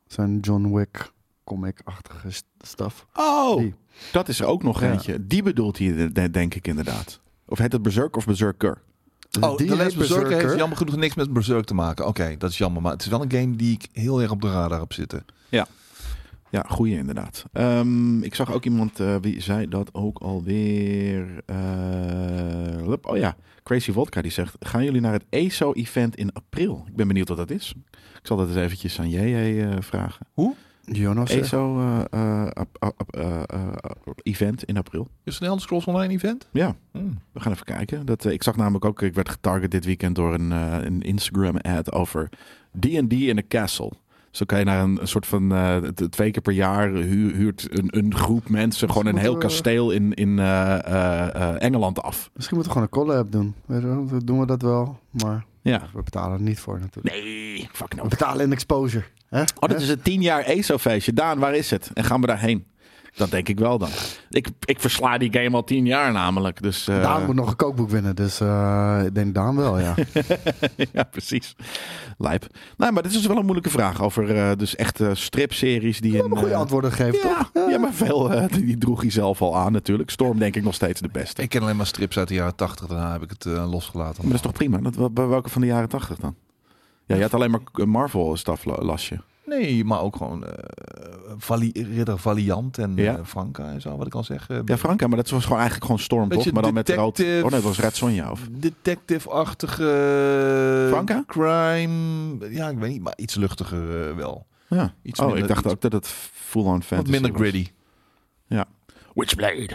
S2: Zijn John Wick comic-achtige st- stuff.
S1: Oh,
S2: Die.
S1: dat is er ook nog
S2: Ja.
S1: eentje. Die bedoelt hij, de- denk ik inderdaad. Of heet het Berserk of Berserker?
S3: Oh,
S2: Dus die
S3: The
S2: heet
S3: Last Berserker, heeft jammer genoeg niks met Berserk te maken. Oké, dat is jammer. Maar het is wel een game die ik heel erg op de radar heb zitten.
S1: Ja, goeie inderdaad. Ehm, ik zag ook iemand, eh, wie zei dat ook alweer? Eh, lup, oh ja, Crazy Vodka die zegt... Gaan jullie naar het ESO-event in april? Ik ben benieuwd wat dat is. Ik zal dat eens eventjes aan JJ eh, vragen. E
S2: Jonas. eh,
S1: eh, ESO-event in april.
S3: Is het een Elder Scrolls Online event?
S1: Ja.
S3: Hmm.
S1: We gaan even kijken. Dat, eh, ik zag namelijk ook, ik werd getarget dit weekend door een, eh, een Instagram-ad over D&D in een castle. Zo kan je naar een, een soort van, eh, t- twee keer per jaar hu- huurt een, een groep mensen gewoon een
S2: moeten
S1: heel
S2: we-
S1: kasteel in, in eh, eh, eh, Engeland af.
S2: Misschien moeten we gewoon een collab doen. Weet je wel, dan doen we dat wel, maar
S1: Ja.
S2: we betalen er niet voor natuurlijk.
S1: Nee, fuck
S2: We
S1: nou.
S2: betalen in exposure. Hè?
S1: Oh, dat is het tien jaar ESO-feestje. Daan, waar is het? En gaan we daarheen? Dat denk ik wel dan. Ik, ik versla die game al tien jaar namelijk. Dus, eh,
S2: Daan moet nog een kookboek winnen, dus eh, ik denk Daan wel, ja.
S1: ja, precies. Lijp. Nou, maar dit is wel een moeilijke vraag over eh, dus echte stripseries die een
S2: Een goede antwoorden geven, toch?
S1: eh, Ja, ja, maar veel eh, die, die droeg hij zelf al aan natuurlijk. Storm denk ik nog steeds de beste.
S3: Ik ken alleen maar strips uit de jaren 80. Daarna heb ik het eh, losgelaten.
S1: Maar dat is toch prima? Dat, wel- bij welke van de jaren tachtig dan? Ja, je had alleen maar Marvel staf las je.
S3: Nee, maar ook gewoon eh, Vali- Ridder Valiant en
S1: Ja.
S3: eh, Franca en zo, wat ik al zeg. eh,
S1: Ja, Franka, maar dat was gewoon eigenlijk gewoon Storm,
S3: Beetje
S1: toch? Maar dan met rood...
S3: detective.
S1: Oh nee, dat was Red Sonja. Of...
S3: Detective-achtige...
S1: Franca?
S3: Crime... Ja, ik weet niet, maar iets luchtiger eh, wel.
S1: Ja.
S3: Iets
S1: oh,
S3: minder-
S1: ik dacht
S3: iets-
S1: ook dat het full-on
S3: Wat
S1: fantasy
S3: minder
S1: was.
S3: gritty.
S1: Witchblade.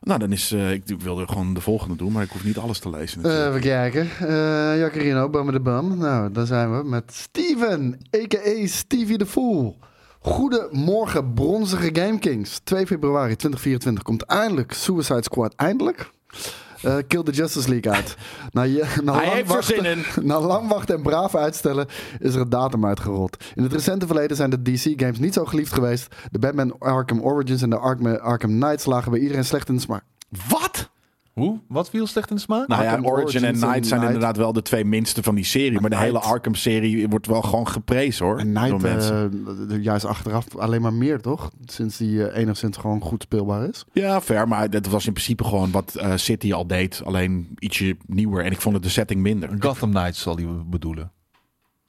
S1: Nou, dan is... eh, ik wilde gewoon de volgende doen, maar ik hoef niet alles te lezen
S2: Eh,
S1: natuurlijk.
S2: even kijken. Eh Jacarino, Bam de Bam. Nou, daar zijn we met Steven, a.k.a. Stevie de Fool. Goedemorgen, bronzige Game Kings. 2 februari 2024 komt eindelijk Suicide Squad. Eindelijk. Eh, Kill the Justice League uit. Na, je, na
S1: Hij
S2: lang
S1: heeft er
S2: wachten-
S1: zin in.
S2: na lang wachten en braaf uitstellen is er een datum uitgerold. In het recente verleden zijn de DC-games niet zo geliefd geweest. De Batman Arkham Origins en de Arkham, Arkham Knights lagen bij iedereen slecht in de smaak.
S1: Wat?
S3: Hoe? Wat viel slecht in de smaak?
S1: Nou
S2: Arkham
S1: ja, Origin en
S2: Origins en
S1: Night zijn
S2: Knight.
S1: inderdaad wel de twee minste van die serie. Maar de hele Arkham-serie wordt wel gewoon geprezen hoor.
S2: En Knight,
S1: door mensen.
S2: eh, juist achteraf alleen maar meer, toch? Sinds die eh, enigszins gewoon goed speelbaar is.
S1: Ja, fair. Maar dat was in principe gewoon wat eh, City al deed. Alleen ietsje nieuwer. En ik vond het de setting minder.
S3: Gotham Knights zal die bedoelen.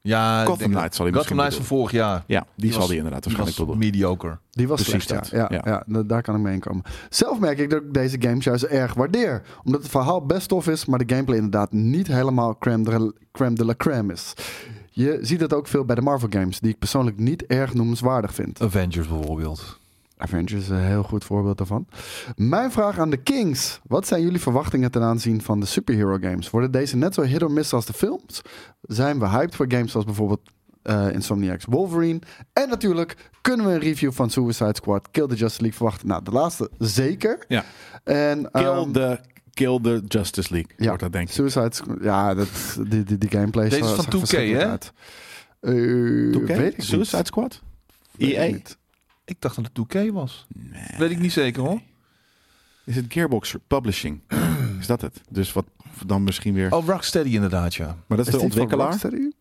S3: Ja, ik
S1: Gotham
S3: denk dat-
S1: Knights zal die
S3: Gotham
S1: misschien
S3: Knights van vorig jaar.
S1: Ja, die, zal
S3: was-
S1: die inderdaad
S3: Die
S1: waarschijnlijk
S3: was
S1: wel doen.
S3: mediocre.
S2: Die was
S1: Precies
S2: slecht,
S1: dat,
S2: ja. Ja,
S1: ja.
S2: ja, da- daar kan ik mee inkomen. Zelf merk ik dat ik deze games juist erg waardeer. Omdat het verhaal best tof is, maar de gameplay inderdaad niet helemaal crème de, la- crème de la crème is. Je ziet dat ook veel bij de Marvel games, die ik persoonlijk niet erg noemenswaardig vind.
S3: Avengers bijvoorbeeld.
S2: Avengers is een heel goed voorbeeld daarvan. Mijn vraag aan de Kings. Wat zijn jullie verwachtingen ten aanzien van de superhero games? Worden deze net zo hit or miss als de films? Zijn we hyped voor games als bijvoorbeeld eh, Insomniac's Wolverine? En natuurlijk, kunnen we een review van Suicide Squad, Kill the Justice League verwachten? Nou, de laatste zeker.
S1: Ja.
S2: En,
S1: Kill,
S2: ehm,
S1: the, kill the Justice League
S2: Ja.
S1: wordt dat denk ik.
S2: Suicide Squad, ja, dat, die, die, die gameplay
S3: Deze is
S2: zag-
S3: van
S2: zag
S3: 2K,
S2: verschrikkelijk
S3: hè?
S2: uit. Eh, weet
S1: 2K?
S2: ik niet.
S1: Suicide Squad? E
S2: Weet ik
S1: EA?
S2: niet.
S3: Ik dacht dat het 2K was. Weet ik niet zeker hoor.
S1: Is het Gearbox Publishing? is dat het? Dus wat dan misschien weer...
S3: Oh, Rocksteady inderdaad, ja.
S1: maar dat is,
S2: die van
S1: de ontwikkelaar?
S2: Rocksteady?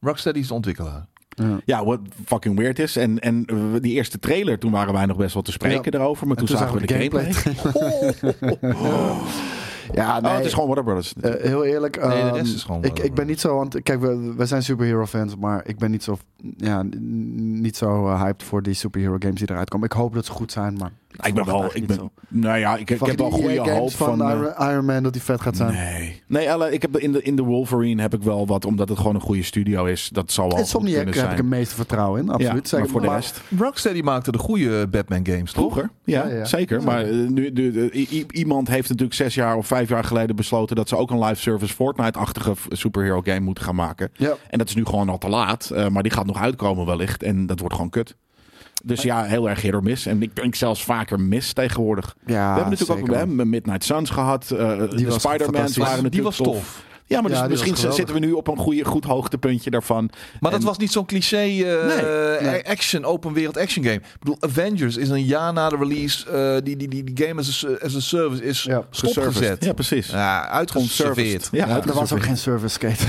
S3: Rocksteady is de ontwikkelaar.
S2: Ja.
S1: Ja, wat fucking weird is. En, en eh, die eerste trailer, toen waren wij nog best wel te spreken
S2: Ja.
S1: daarover. Maar
S2: En
S1: toen, zagen we de gameplay.
S2: gameplay.
S1: Oh, oh, oh.
S2: Ja, nee,
S1: oh, het is gewoon Warner Brothers.
S2: eh, heel eerlijk.
S3: Nee, de
S2: ehm,
S3: rest is gewoon eh,
S2: ik,
S3: wel-
S2: ik ben niet zo. Want kijk, we, we zijn superhero fans, maar ik ben niet zo, ja, n- niet zo eh, hyped voor die superhero games die eruit komen. Ik hoop dat ze goed zijn, maar
S1: ik ben
S2: verwacht
S1: wel,
S2: het
S1: ik
S2: eigenlijk
S1: ben,
S2: niet
S1: nou ja, ik, ik
S2: Verwacht
S1: heb wel
S2: je die
S1: goede
S2: EA
S1: hoop
S2: games
S1: van. eh,
S2: Iron, Iron Man dat die vet gaat zijn.
S1: Nee, nee alle, ik heb in, de, in de Wolverine heb ik wel wat, omdat het gewoon een goede studio is. Dat zal wel goed
S2: Insomniac
S1: kunnen
S2: heb ik
S1: zijn.
S2: het meeste vertrouwen in, absoluut.
S1: Ja,
S2: Zeg
S1: maar
S2: ik
S1: voor de
S2: maar.
S1: rest.
S3: Rocksteady maakte de goede Batman games, toch?
S1: Vroeger, ja,
S2: Ja, ja.
S1: zeker.
S2: Ja.
S1: Maar eh, nu, nu- eh, i- i- iemand heeft natuurlijk zes jaar of vijf jaar geleden besloten dat ze ook een live service Fortnite-achtige f- superhero game moeten gaan maken.
S2: Ja.
S1: En dat is nu gewoon al te laat. eh, maar die gaat nog uitkomen wellicht. En dat wordt gewoon kut. Dus ja, heel erg hit or miss. En ik denk zelfs vaker mis tegenwoordig.
S2: Ja,
S1: we hebben natuurlijk ook hè, Midnight Suns gehad. eh, de
S2: Ah, was
S1: Spider-Man's
S2: fantastisch.
S1: waren natuurlijk
S3: die was tof.
S1: Ja, maar dus
S2: Ja, die was
S1: misschien
S2: geweldig.
S1: zitten we nu op een goede, goed hoogtepuntje daarvan.
S3: Maar
S1: En-
S3: dat was niet zo'n cliché eh,
S1: Nee,
S3: eh, action, open wereld action game. Ik bedoel, Avengers is een jaar na de release. eh, die, die, die, die game as a, as a service is
S2: Ja,
S3: stopgezet.
S1: Ja, precies.
S3: Ja, uitgeconserveerd.
S1: Conserved. Ja,
S2: Er was ook geen service skate.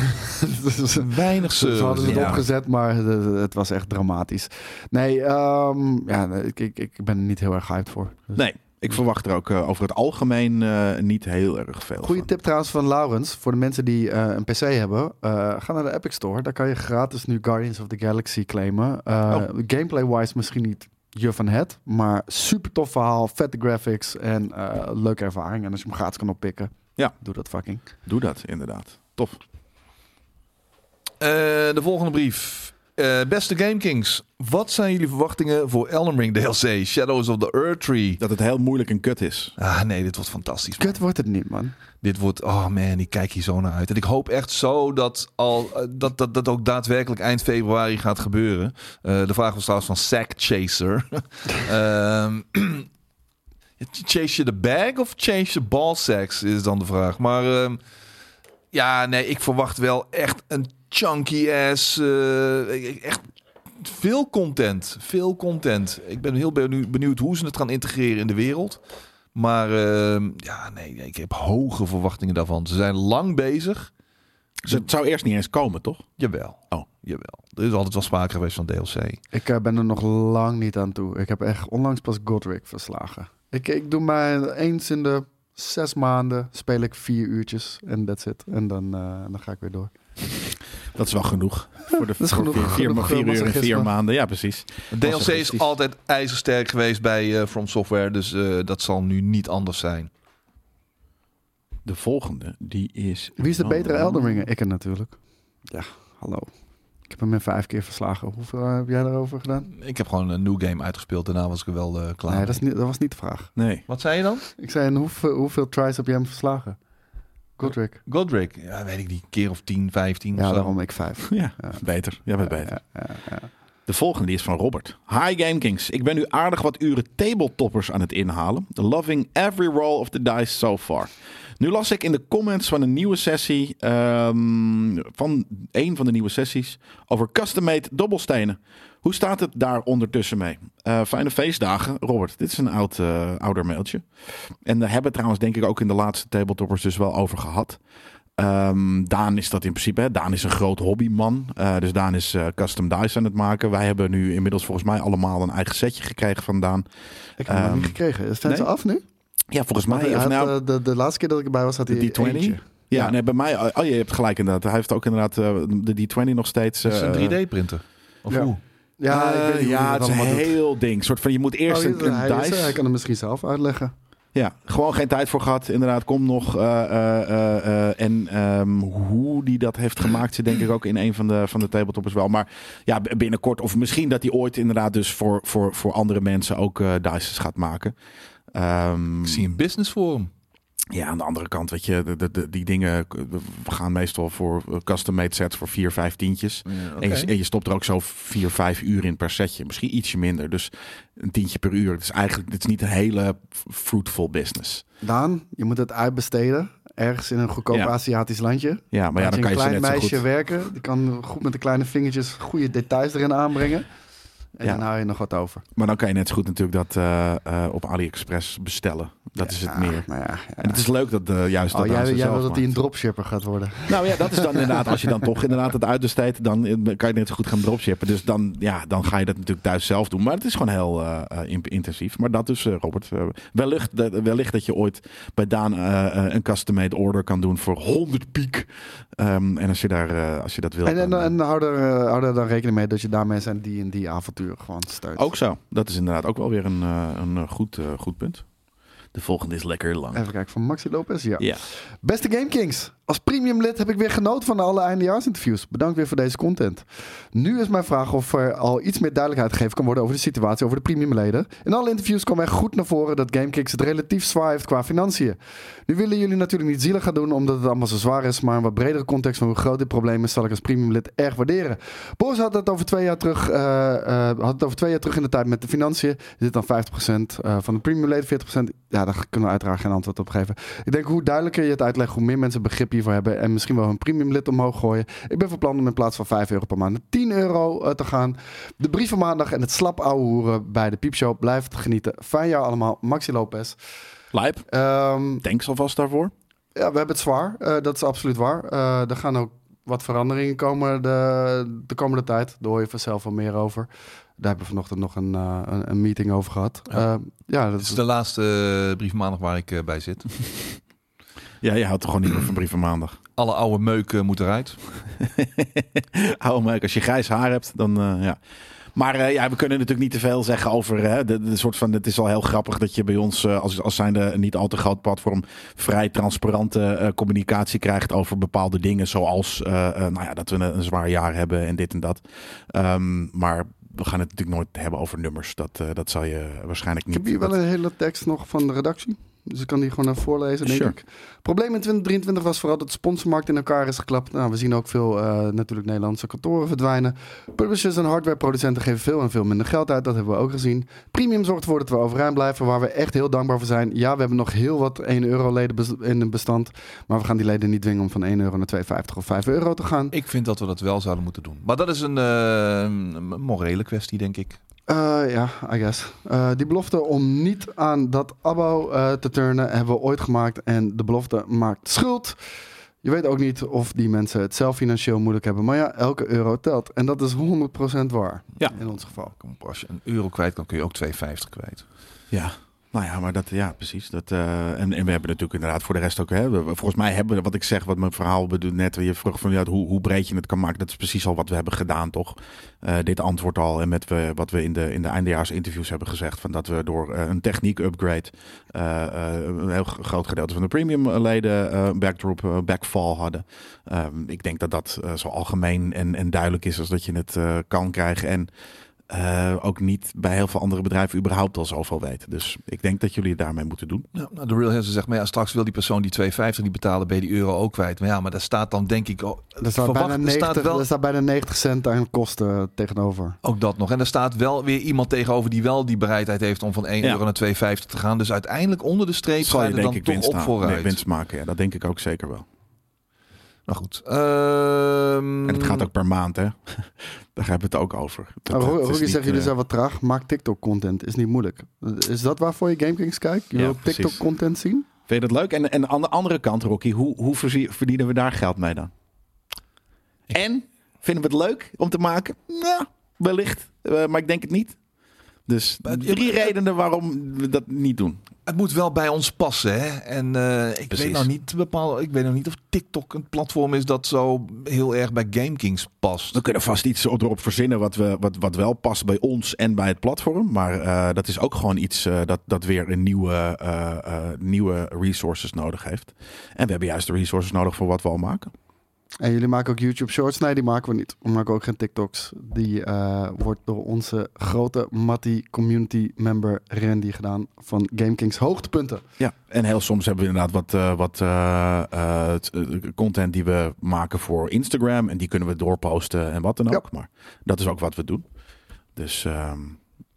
S2: Dus-
S3: Weinig
S2: Ze hadden
S3: service,
S1: eh,
S2: het
S3: ja.
S2: opgezet, maar de- de- het was echt dramatisch. Nee, ehm, ja, nee, ik, ik, ik ben er niet heel erg hyped voor. Dus-
S1: Nee, ik verwacht er ook eh, over het algemeen eh, niet heel erg veel.
S2: Goeie
S1: van.
S2: tip trouwens van Laurens. Voor de mensen die eh, een PC hebben, eh, ga naar de Epic Store. Daar kan je gratis nu Guardians of the Galaxy claimen. Eh, Gameplay-wise misschien niet je van het, maar super tof verhaal, vette graphics en eh, leuke ervaring. En als je hem gratis kan oppikken,
S1: Ja.
S2: doe dat fucking.
S1: Doe dat inderdaad. Tof.
S3: Eh, de volgende brief. Eh, beste Game Kings, wat zijn jullie verwachtingen voor Elden Ring DLC Shadows of the Earth Tree?
S1: Dat het heel moeilijk en kut is.
S3: Ah nee, dit wordt fantastisch. man.
S2: Kut wordt het niet, man.
S3: Dit wordt, oh man, ik kijk hier zo naar uit. En ik hoop echt zo dat al, eh, dat, dat, dat ook daadwerkelijk eind februari gaat gebeuren. Eh, de vraag was trouwens van Sack Chaser. Ehm, chase je de bag of chase je ballsacks is dan de vraag. Maar ehm, ja, nee, ik verwacht wel echt een chunky ass, eh, echt veel content, veel content. Ik ben heel benieu- benieuwd hoe ze het gaan integreren in de wereld. Maar ehm, ja, nee, nee, ik heb hoge verwachtingen daarvan. Ze zijn lang bezig.
S1: Dus het zou eerst niet eens komen, toch?
S3: Jawel.
S1: Oh.
S3: Jawel. Er is altijd wel sprake geweest van DLC.
S2: Ik eh, ben er nog lang niet aan toe. Ik heb echt onlangs pas Godric verslagen. Ik, ik doe mij eens in de zes maanden speel ik vier uurtjes en that's it. En dan, eh, dan ga ik weer door.
S1: Dat is wel genoeg. Voor de
S2: is
S1: voor
S2: genoeg.
S1: vier, vier,
S2: Genoeg,
S1: vier
S2: eh,
S1: uur en vier
S2: masochisme.
S1: maanden. Ja, precies.
S3: DLC is
S1: Masochistisch.
S3: altijd ijzersterk geweest bij eh, From Software. Dus eh, dat zal nu niet anders zijn.
S1: De volgende, die is...
S2: Wie is de
S1: van-
S2: betere Elden Ringer? Ik het natuurlijk. Ja, hallo. Ik heb hem in vijf keer verslagen. Hoeveel eh, heb jij daarover gedaan?
S3: Ik heb gewoon een new game uitgespeeld. Daarna was ik er wel eh, klaar.
S2: Nee, dat,
S3: mee.
S2: is niet, dat was niet de vraag.
S1: Nee.
S3: Wat zei je dan?
S2: Ik zei, en hoeveel, hoeveel tries heb jij hem verslagen? Godric.
S3: Godric. Ja, weet ik niet. Keer of 10, 15 of
S2: Ja,
S3: zo.
S2: daarom ik vijf.
S1: Ja,
S2: Ja.
S1: beter. Jij bent beter.
S2: Ja, ja, ja.
S1: De volgende die is van Robert. Hi Gamekings, ik ben nu aardig wat uren tabletoppers aan het inhalen. Loving every roll of the dice so far. Nu las ik in de comments van een nieuwe sessie, ehm, van een van de nieuwe sessies, over custom-made dobbelstenen. Hoe staat het daar ondertussen mee? Eh, fijne feestdagen, Robert. Dit is een oud, eh, ouder mailtje. En daar hebben we trouwens denk ik ook in de laatste tabletoppers dus wel over gehad. Ehm, Daan is dat in principe. Hè. Daan is een groot hobbyman. Eh, dus Daan is eh, custom dice aan het maken. Wij hebben nu inmiddels volgens mij allemaal een eigen setje gekregen van Daan.
S2: Ik heb hem nog
S1: Ehm,
S2: niet gekregen. Zijn
S1: nee?
S2: ze af nu?
S1: Ja, volgens
S2: Want
S1: mij.
S2: hij
S1: of
S2: had,
S1: nou,
S2: eh, de, de laatste keer dat ik erbij was, had hij
S1: de D20?
S2: eentje.
S1: ja,
S2: ja.
S1: nee, bij mij. Oh, je hebt gelijk inderdaad. Hij heeft ook inderdaad eh, de D20 nog steeds.
S3: Het is
S1: eh,
S3: een 3D-printer. Of
S2: Ja.
S3: hoe?
S2: Ja,
S1: eh,
S2: ik weet niet
S1: ja,
S2: hoe
S1: het
S2: het
S1: is een
S2: allemaal doet.
S1: heel ding. Soort van, je moet eerst
S2: Oh,
S1: een, een
S2: hij, is
S1: dice.
S2: er. hij kan het misschien zelf uitleggen.
S1: Ja, gewoon geen tijd voor gehad. Inderdaad, kom nog. eh, eh, eh, eh, en ehm, hoe die dat heeft gemaakt, zit denk ik ook in een van de, van de tabletoppers wel. Maar ja, b- binnenkort. Of misschien dat hij ooit inderdaad dus voor, voor, voor andere mensen ook eh dices gaat maken. Ehm,
S3: Ik zie een business forum.
S1: ja, aan de andere kant, weet je, de, de- de- die dingen eh, we gaan meestal voor eh, custom-made sets voor 4, 5 tientjes. En, je, en je stopt er ook zo 4, 5 uur in per setje. Misschien ietsje minder. Dus een tientje per uur. Het is eigenlijk het is niet een hele fruitful business.
S2: Daan, je moet het uitbesteden. Ergens in een goedkoop
S1: Ja.
S2: Aziatisch landje.
S1: Ja, maar ja, dan
S2: Laat
S1: kan je
S2: een
S1: ze
S2: klein
S1: net zo
S2: meisje
S1: goed...
S2: werken. Die kan goed met de kleine vingertjes goede details erin aanbrengen. En
S1: Ja.
S2: dan hou je nog wat over.
S1: Maar dan kan je net zo goed natuurlijk dat eh, eh, op AliExpress bestellen. Dat is het
S2: Ja,
S1: meer.
S2: Nou ja, ja.
S1: En het is leuk dat eh, juist
S2: Oh,
S1: dat
S2: jij,
S1: Daan ze
S2: jij
S1: zelf
S2: wil dat hij een
S1: maakt.
S2: dropshipper gaat worden.
S1: Nou ja, dat is dan inderdaad, als je dan toch inderdaad het uitbesteedt, dan eh, kan je net zo goed gaan dropshippen. Dus dan, ja, dan ga je dat natuurlijk thuis zelf doen. Maar het is gewoon heel eh, eh, in- intensief. Maar dat dus, eh, Robert. eh, wellicht, dat- wellicht dat je ooit bij Daan eh, eh, een custom-made order kan doen voor 100 piek. Ehm, en als je, daar, eh, als je dat wil.
S2: En, en,
S1: dan, eh,
S2: en hou, er, eh, hou er dan rekening mee dat je daarmee zijn die en die avontuur gewoon steunt.
S1: ook zo. Dat is inderdaad ook wel weer een, eh, een eh, goed, eh, goed punt. De volgende is lekker lang.
S2: Even kijken, van Maxi Lopez, ja.
S1: Ja.
S2: Beste GameKings, als premium lid heb ik weer genoten van alle eindejaarsinterviews. Bedankt weer voor deze content. Nu is mijn vraag of er al iets meer duidelijkheid gegeven kan worden over de situatie over de premium leden. In alle interviews kwam echt goed naar voren dat GameKings het relatief zwaar heeft qua financiën. Nu willen jullie natuurlijk niet zielig gaan doen omdat het allemaal zo zwaar is, maar een wat bredere context van hoe groot dit probleem is zal ik als premium lid erg waarderen. Boris had het over twee jaar terug, eh, eh, had het over twee jaar terug in de tijd met de financiën. Dit dan 50% eh, van de premium leden, 40%. Ja, daar kunnen we uiteraard geen antwoord op geven. Ik denk hoe duidelijker je het uitlegt, hoe meer mensen begrip hiervoor hebben. En misschien wel hun premium lid omhoog gooien. Ik ben van plan om in plaats van 5 euro per maand naar 10 euro eh, te gaan. De brief van maandag en het slap ouwe hoeren bij de Piepshow. Blijf genieten. Fijn jaar allemaal. Maxi Lopez.
S1: Lijp,
S2: Ehm,
S1: thanks alvast daarvoor.
S2: ja, we hebben het zwaar. Eh, dat is absoluut waar. Eh, er gaan ook wat veranderingen komen de, de komende tijd. Daar hoor je vanzelf wel meer over. Daar hebben we vanochtend nog een, eh, een, een meeting over gehad. Eh, Ja, dat
S3: Het is de laatste eh, brief maandag waar ik eh, bij zit.
S1: Ja, je houdt er gewoon niet meer van brieven maandag.
S3: Alle oude meuken moeten eruit.
S1: Hou hem leuk. Als je grijs haar hebt, dan eh, ja. Maar eh, ja, we kunnen natuurlijk niet te veel zeggen over hè, de, de soort van. Het is al heel grappig dat je bij ons, eh, als, als zijnde een niet al te groot platform, vrij transparante eh, communicatie krijgt over bepaalde dingen. Zoals eh, eh, nou ja, dat we een, een zwaar jaar hebben en dit en dat. Ehm, maar we gaan het natuurlijk nooit hebben over nummers. Dat, eh, dat zal je waarschijnlijk
S2: Ik
S1: niet.
S2: heb hier wel
S1: dat-
S2: een hele tekst nog van de redactie. Dus ik kan die gewoon even voorlezen, denk
S1: Sure.
S2: ik. Probleem in 2023 was vooral dat de sponsormarkt in elkaar is geklapt. Nou, we zien ook veel eh, natuurlijk Nederlandse kantoren verdwijnen. Publishers en hardwareproducenten geven veel en veel minder geld uit. Dat hebben we ook gezien. Premium zorgt ervoor dat we overeind blijven, waar we echt heel dankbaar voor zijn. Ja, we hebben nog heel wat 1 euro leden bes- in het bestand. Maar we gaan die leden niet dwingen om van 1 euro naar 2,50 of 5 euro te gaan.
S3: Ik vind dat we dat wel zouden moeten doen. Maar dat is een eh, een morele kwestie, denk ik.
S2: Eh, ja, I guess. Eh, die belofte om niet aan dat abo eh, te turnen hebben we ooit gemaakt. En de belofte maakt schuld. Je weet ook niet of die mensen het zelf financieel moeilijk hebben. Maar ja, elke euro telt. En dat is 100% waar.
S1: Ja.
S2: In ons geval.
S3: Kom op, als je een euro kwijt kan, kun je ook 2,50 kwijt.
S1: Ja, nou ja, maar dat, ja, precies. Dat, eh, en, en we hebben natuurlijk inderdaad voor de rest ook, hè, we- volgens mij hebben we, wat ik zeg, wat mijn verhaal bedoelt net, je vroeg van ja, hoe, hoe breed je het kan maken, dat is precies al wat we hebben gedaan, toch? Eh, dit antwoord al en met we, wat we in de, in de eindejaarsinterviews hebben gezegd, van dat we door eh, een techniek-upgrade eh, eh, een heel g- groot gedeelte van de premium-leden eh backdrop, eh, backfall hadden. Ehm, ik denk dat dat eh, zo algemeen en, en duidelijk is als dat je het eh, kan krijgen. En eh, ook niet bij heel veel andere bedrijven überhaupt al zoveel weten. Dus ik denk dat jullie het daarmee moeten doen.
S3: Ja, nou, de real Hazel zegt, maar ja, straks wil die persoon die 2,50 niet betalen, ben je die euro ook kwijt. Maar ja, maar daar staat dan denk ik... Oh,
S2: Er staat,
S3: verwacht-
S2: bijna
S3: er
S2: 90,
S3: staat wel
S2: er staat bijna 90 cent aan kosten tegenover.
S3: Ook dat nog. En er staat wel weer iemand tegenover die wel die bereidheid heeft om van 1
S1: Ja.
S3: euro naar 2,50 te gaan. Dus uiteindelijk onder de streep
S1: Zal
S3: ga
S1: je
S3: je er
S1: denk
S3: dan
S1: ik
S3: toch
S1: winst,
S3: op
S1: halen- nee,
S3: vooruit.
S1: winst maken? Ja, dat denk ik ook zeker wel.
S3: Nou goed. Ehm,
S1: En het gaat ook per maand, hè? Daar hebben we het ook
S3: Oh,
S1: over. Dat-
S2: Nou, Ro-
S1: het is
S2: Rocky
S1: niet,
S2: zegt, jullie
S1: eh,
S2: zijn wat traag. Maak TikTok-content. Is niet moeilijk. Is dat waarvoor je GameKings kijkt? Je
S1: Ja,
S2: wil
S1: precies.
S2: TikTok-content zien?
S1: Vind je dat leuk? En, en aan de andere kant, Rocky, hoe, hoe verzie- verdienen we daar geld mee dan? En vinden we het leuk om te maken? Nou, wellicht. Eh, maar ik denk het niet. Dus
S3: Maar het-
S1: drie redenen waarom we dat niet doen.
S3: Het moet wel bij ons passen. Hè? En eh, ik
S1: Precies.
S3: weet nou niet bepaald. Ik weet nog niet of TikTok een platform is dat zo heel erg bij GameKings past.
S1: We kunnen vast iets erop verzinnen wat, we, wat, wat wel past bij ons en bij het platform. Maar eh, dat is ook gewoon iets eh, dat, dat weer een nieuwe, eh, eh, nieuwe resources nodig heeft. En we hebben juist de resources nodig voor wat we al maken.
S2: En jullie maken ook YouTube Shorts? Nee, die maken we niet. We maken ook geen TikToks. Die eh, wordt door onze grote Matty community member Randy gedaan van GameKings Hoogtepunten.
S1: Ja, en heel soms hebben we inderdaad wat, eh, wat eh, eh, t- eh, content die we maken voor Instagram. En die kunnen we doorposten en wat dan ook. Maar dat is ook wat we doen. Dus ehm,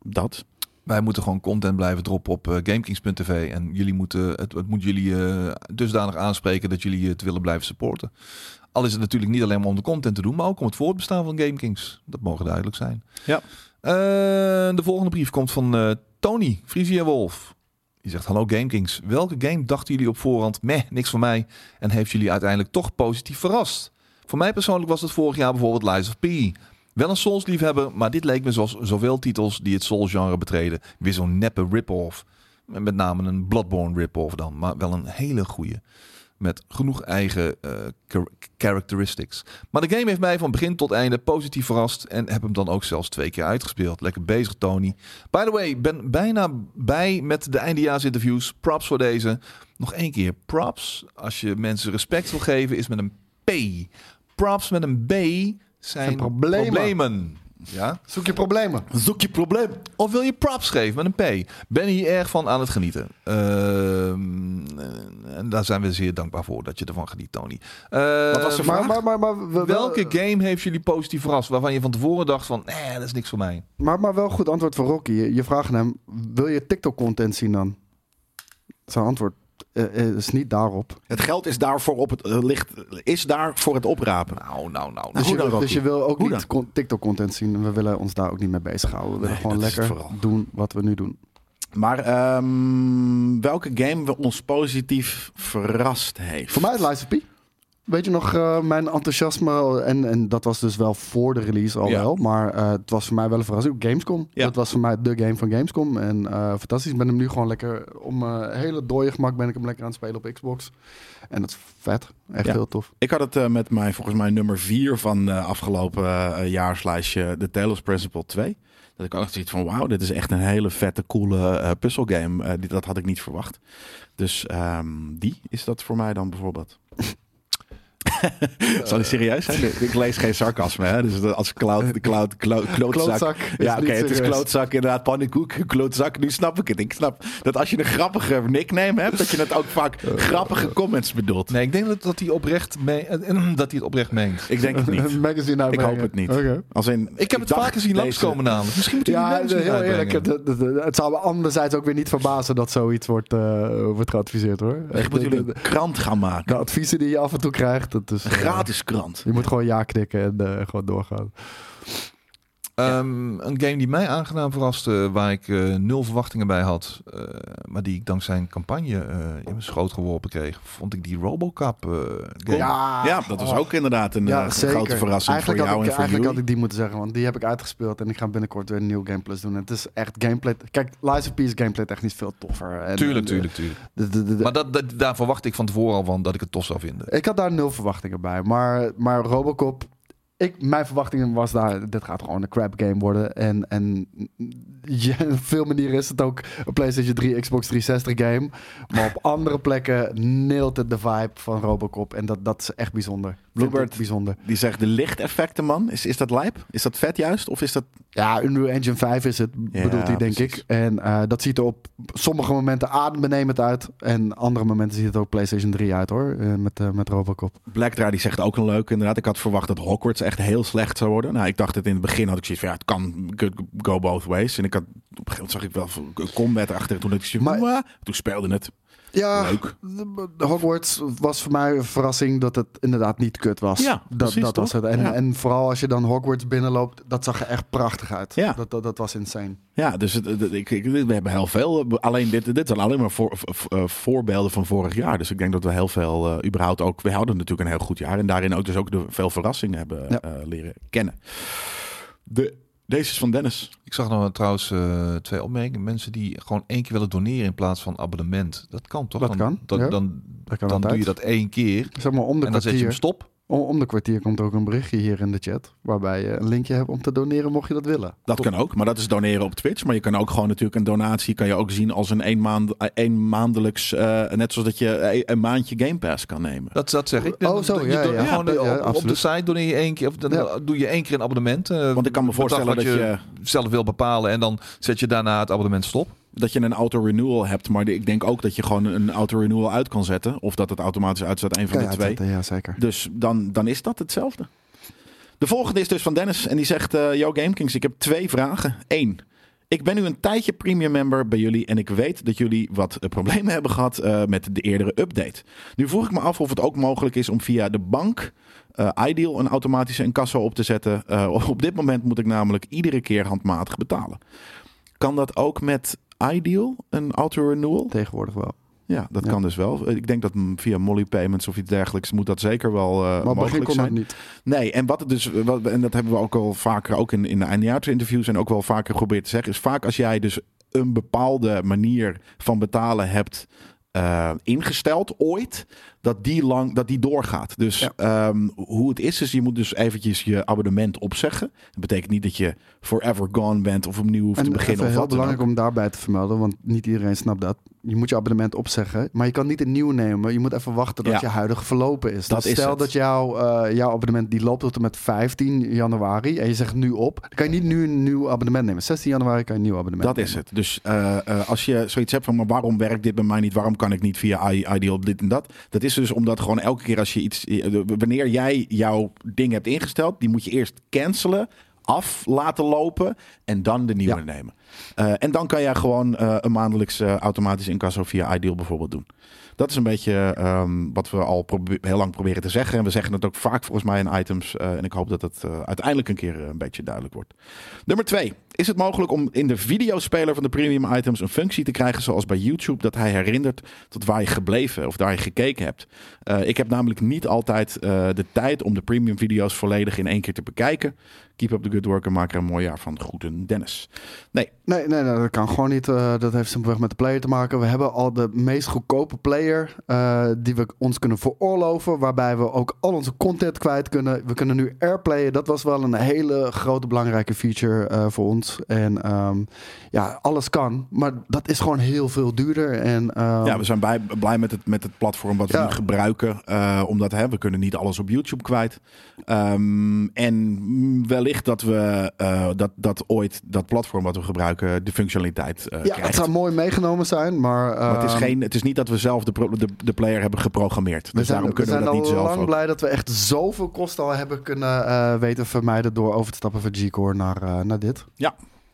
S1: dat.
S3: Wij moeten gewoon content blijven droppen op eh, GameKings.tv. En jullie moeten, het, het moet jullie eh, dusdanig aanspreken dat jullie het willen blijven supporten. Al is het natuurlijk niet alleen maar om de content te doen, maar ook om het voortbestaan van GameKings. Dat mogen duidelijk zijn.
S1: Ja.
S3: Eh, de volgende brief komt van eh, Tony, Frisia Wolf. Die zegt, hallo GameKings. Welke game dachten jullie op voorhand, meh, niks van mij. En heeft jullie uiteindelijk toch positief verrast? Voor mij persoonlijk was het vorig jaar bijvoorbeeld Lies of P. Wel een Souls-liefhebber, maar dit leek me zoals zoveel titels die het Souls-genre betreden. Weer zo'n neppe rip-off. Met name een Bloodborne rip-off dan, maar wel een hele goede. Met genoeg eigen eh, char- characteristics. Maar de game heeft mij van begin tot einde positief verrast. En heb hem dan ook zelfs twee keer uitgespeeld. Lekker bezig, Tony. By the way, ben bijna bij met de eindejaarsinterviews. Props voor deze. Nog één keer, props. Als je mensen respect wil geven, is met een P. Props met een B zijn
S2: Zijn problemen.
S3: problemen. Ja?
S2: Zoek je problemen.
S1: Zoek je probleem.
S3: Of wil je props geven met een P? Ben hier erg van aan het genieten. Ehm, en daar zijn we zeer dankbaar voor dat je ervan geniet, Tony. Eh,
S1: Wat was de
S2: Maar,
S1: vraag?
S2: maar, maar, maar, wel-
S3: Welke game heeft jullie positief verrast? Waarvan je van tevoren dacht van, nee, dat is niks voor mij.
S2: maar, maar wel goed antwoord van Rocky. Je, je vraagt aan hem, wil je TikTok-content zien dan? Zijn antwoord eh, eh, is niet daarop.
S1: Het geld is daarvoor op het eh, ligt is daar voor het oprapen.
S3: Nou, nou, nou.
S1: Hoe
S2: Dus, je,
S1: dan,
S2: wil- dus
S1: Rocky?
S2: je wil ook
S1: Hoe
S2: niet
S1: dan?
S2: con- TikTok-content zien. En we willen ons daar ook niet mee bezighouden. We willen
S1: Nee,
S2: gewoon
S1: dat is het
S2: lekker
S1: vooral.
S2: doen wat we nu doen.
S1: Maar ehm, welke game we ons positief verrast heeft?
S2: Voor mij is Lies of P. Weet je nog, eh, mijn enthousiasme, en, en dat was dus wel voor de release al
S1: Ja.
S2: wel, maar eh, het was voor mij wel een verrassing. Ook Gamescom,
S1: Ja.
S2: dat was voor mij de game van Gamescom. En eh, fantastisch, ik ben hem nu gewoon lekker, om eh, hele dode gemak ben ik hem lekker aan het spelen op Xbox. En dat is vet, echt
S1: Ja.
S2: heel tof.
S1: Ik had het eh, met mijn, volgens mij, nummer 4 van eh afgelopen eh, jaarslijstje, The Talos Principle 2. Dat ik ook echt zoiets van, wauw, dit is echt een hele vette, coole eh puzzelgame. Eh, dit- dat had ik niet verwacht. Dus ehm, die is dat voor mij dan bijvoorbeeld. Zal ik serieus zijn? Ik- Ik lees geen sarcasme, hè? Dus dat- als cloud, de cloud, cloud, klootzak.
S2: Klootzak is
S1: Ja,
S2: niet
S1: oké, het is
S2: serieus.
S1: klootzak, inderdaad. Pannenkoek, klootzak. Nu snap ik het. Ik snap dat als je een grappige nickname hebt, dat je het ook vaak grappige comments bedoelt.
S3: Nee, ik denk dat, dat, hij, oprecht me- eh, dat hij het oprecht meent.
S1: Ik denk het niet.
S2: Een magazine
S1: Ik
S2: uitbrengen.
S1: hoop het niet.
S2: Oké.
S1: Als in,
S3: Ik heb het
S1: dacht
S3: vaker zien
S1: deze-
S3: langskomen namelijk. Misschien moeten jullie
S2: Ja,
S3: mij misschien
S2: heel eerlijk,
S3: uitbrengen.
S2: het, het- het- het zou me anderzijds ook weer niet verbazen dat zoiets wordt, eh, wordt geadviseerd hoor.
S1: Ik
S2: Echt,
S1: moet
S2: de,
S1: jullie
S2: de-
S1: een krant gaan maken.
S2: de adviezen die je af en toe krijgt, dat is...
S1: Een
S2: eh,
S1: gratis krant.
S2: Je moet gewoon ja knikken en eh, gewoon doorgaan.
S3: Ehm, een game die mij aangenaam verraste, waar ik eh, nul verwachtingen bij had, eh, maar die ik dankzij een campagne eh, in mijn schoot geworpen kreeg, vond ik die Robocop eh, game.
S1: Ja, dat was ook inderdaad een eh, grote verrassing
S2: Oh. eigenlijk
S1: voor jou
S2: had ik,
S1: en voor
S2: Eigenlijk
S1: jullie.
S2: had ik die moeten zeggen, want die heb ik uitgespeeld. En ik ga binnenkort weer een nieuw gameplay doen. Het is echt gameplay... Kijk, Lies of P is gameplay technisch veel toffer. En,
S3: Tuurlijk,
S2: en, eh,
S3: tuurlijk, tuurlijk.
S2: de- de- de- de-
S3: eh, Maar dat, dat, daar verwacht ik van tevoren al van dat ik het tof zou vinden.
S2: ik had daar nul verwachtingen bij. Maar, maar Robocop... Ik, mijn verwachtingen was daar, dit gaat gewoon een crap game worden. En, en ja, op veel manieren is het ook een PlayStation 3, Xbox 360 game. Maar op andere plekken neelt het de vibe van Robocop. En dat, dat is echt bijzonder. Vind ik
S1: Bluebird.
S2: Bijzonder.
S1: Die zegt de lichteffecten, man. Is, is dat lijp? Is dat vet juist? Of is dat...
S2: Ja, Unreal Engine 5 is het,
S1: Ja,
S2: bedoelt hij, denk
S1: precies.
S2: ik. En eh, dat ziet er op sommige momenten adembenemend uit. En andere momenten ziet het ook PlayStation 3 uit, hoor. eh, met, eh, met Robocop.
S1: Blackdra die zegt ook een leuke inderdaad. Ik had verwacht dat Hogwarts echt heel slecht zou worden. Nou, ik dacht het in het begin had ik zoiets van ja, het kan could go both ways. En ik had op een gegeven moment zag ik wel veel combat achter. Toen, dacht ik, zo,
S2: Maar-
S1: "Mwah." toen speelde het.
S2: Ja,
S1: Leuk.
S2: de- de Hogwarts was voor mij een verrassing dat het inderdaad niet kut was.
S1: Ja,
S2: dat,
S1: precies,
S2: dat was
S1: toch?
S2: het. En,
S1: Ja.
S2: en vooral als je dan Hogwarts binnenloopt, dat zag er echt prachtig uit.
S1: Ja.
S2: Dat, dat, dat was insane.
S1: Ja, dus het- het- ik, ik- we hebben heel veel. eh, Alleen dit, dit zijn alleen maar voor, v- eh, voorbeelden van vorig jaar. Dus ik denk dat we heel veel, eh, überhaupt ook, we hadden natuurlijk een heel goed jaar. En daarin ook dus ook de, veel verrassingen hebben
S2: Ja.
S1: eh, leren kennen. De, deze is van Dennis.
S3: Ik zag nog trouwens eh, twee opmerkingen. Mensen die gewoon één keer willen doneren in plaats van abonnement. Dat kan toch?
S2: Dat
S3: dan,
S2: kan,
S3: Dan,
S2: ja.
S3: dan,
S2: Dat kan
S3: dan doe
S2: altijd.
S3: je dat één keer
S2: Zeg maar om de
S3: en dan zet je hem
S2: kwartier.
S3: stop.
S2: Om, om de kwartier komt ook een berichtje hier in de chat. Waarbij je een linkje hebt om te doneren, mocht je dat willen.
S1: Dat kan ook, maar dat is doneren op Twitch. Maar je kan ook gewoon natuurlijk een donatie kan je ook zien als een een, maand, eh, een maandelijks, eh, net zoals dat je eh, een maandje Game Pass kan nemen.
S3: Dat, dat zeg ik.
S2: Oh, zo,
S3: Je
S2: ja,
S3: doet
S2: ja.
S3: gewoon eh,
S2: Ja,
S3: op-
S2: ja,
S3: op, de
S2: absoluut.
S3: site doneer je één keer, of dan
S2: Ja.
S3: doe je één keer een abonnement. eh,
S1: Want ik kan me
S3: bedrag
S1: voorstellen
S3: wat
S1: dat je,
S3: zelf wil bepalen en dan zet je daarna het abonnement stop.
S1: dat je een auto-renewal hebt. Maar ik denk ook dat je gewoon een auto-renewal uit kan zetten. Of dat het automatisch uitzet, een van
S2: Kan
S1: de
S2: je
S1: twee.
S2: uitzetten, Ja, zeker.
S1: Dus dan, dan is dat hetzelfde. De volgende is dus van Dennis en die zegt: eh Yo Gamekings, ik heb twee vragen. Eén. Ik ben nu een tijdje premium member bij jullie en ik weet dat jullie wat eh, problemen hebben gehad eh, met de eerdere update. Nu vroeg ik me af of het ook mogelijk is om via de bank eh, Ideal een automatische incasso op te zetten. Eh, op dit moment moet ik namelijk iedere keer handmatig betalen. Kan dat ook met Ideal, een auto-renewal?
S2: Tegenwoordig wel.
S1: Ja, dat
S2: Ja.
S1: kan dus wel. Eh, Ik denk dat mm, via Molly Payments of iets dergelijks moet dat zeker wel eh
S2: Maar op het begin
S1: mogelijk
S2: kon dat
S1: zijn.
S2: niet.
S1: Nee, en wat het dus, wat, en dat hebben we ook al vaker, ook in, in de eindjaarsinterviews en ook wel vaker geprobeerd te zeggen, is vaak als jij dus een bepaalde manier van betalen hebt eh, ingesteld ooit, dat die, lang, dat die doorgaat. Dus
S2: Ja.
S1: ehm, hoe het is, is je moet dus eventjes je abonnement opzeggen. Dat betekent niet dat je forever gone bent of opnieuw hoeft te
S2: En
S1: beginnen.
S2: even
S1: Of
S2: heel
S1: wat dan ook.
S2: belangrijk om daarbij te vermelden, want niet iedereen snapt dat. Je moet je abonnement opzeggen, maar je kan niet een nieuw nemen. Je moet even wachten tot
S1: Ja.
S2: je huidige verlopen is.
S1: Dat
S2: dus
S1: is
S2: stel
S1: het.
S2: dat jouw, eh, jouw abonnement die loopt tot en met 15 januari en je zegt nu op, dan kan je niet nu een nieuw abonnement nemen. 16 januari kan je een nieuw abonnement
S1: Dat is het. Dus eh, eh, als je zoiets hebt van, maar waarom werkt dit bij mij niet? Waarom kan ik niet via I- Ideal dit en dat? Dat is dus omdat gewoon elke keer als je iets, eh, wanneer jij jouw ding hebt ingesteld, die moet je eerst cancelen, af laten lopen en dan de nieuwe
S2: Ja.
S1: nemen. Eh, en dan kan jij gewoon eh, een maandelijks eh, automatisch incasso via Ideal bijvoorbeeld doen. Dat is een beetje ehm, wat we al probe- heel lang proberen te zeggen. En we zeggen het ook vaak volgens mij in items. eh, en ik hoop dat het eh, uiteindelijk een keer eh, een beetje duidelijk wordt. Nummer twee. Is het mogelijk om in de videospeler van de premium items een functie te krijgen zoals bij YouTube dat hij herinnert tot waar je gebleven of daar je gekeken hebt? Eh, ik heb namelijk niet altijd eh, de tijd om de premium video's volledig in één keer te bekijken. Keep up the good work en maak er een mooi jaar van. Groeten Dennis.
S2: Nee, nee, nee, dat kan gewoon niet. Eh, dat heeft simpelweg met de player te maken. We hebben al de meest goedkope player eh, die we ons kunnen veroorloven. Waarbij we ook al onze content kwijt kunnen. We kunnen nu airplayen. Dat was wel een hele grote belangrijke feature eh, voor ons. En ehm, ja, alles kan. Maar dat is gewoon heel veel duurder. En, ehm,
S1: ja, we zijn bij, blij met het, met het platform wat we
S2: Ja.
S1: nu gebruiken. eh, omdat hè, we kunnen niet alles op YouTube kwijt. Ehm en wellicht dat we eh, dat, dat ooit dat platform wat we gebruiken de functionaliteit eh
S2: ja, het
S1: krijgt.
S2: zou mooi meegenomen zijn. Maar,
S1: Maar het, is
S2: ehm,
S1: geen, het is niet dat we zelf de, pro- de, de player hebben geprogrammeerd. Dus
S2: We zijn,
S1: daarom
S2: we
S1: kunnen we, dat
S2: zijn al
S1: niet zelf
S2: lang
S1: ook.
S2: blij dat we echt zoveel kosten al hebben kunnen eh, weten vermijden door over te stappen van G-Core naar, eh, naar dit.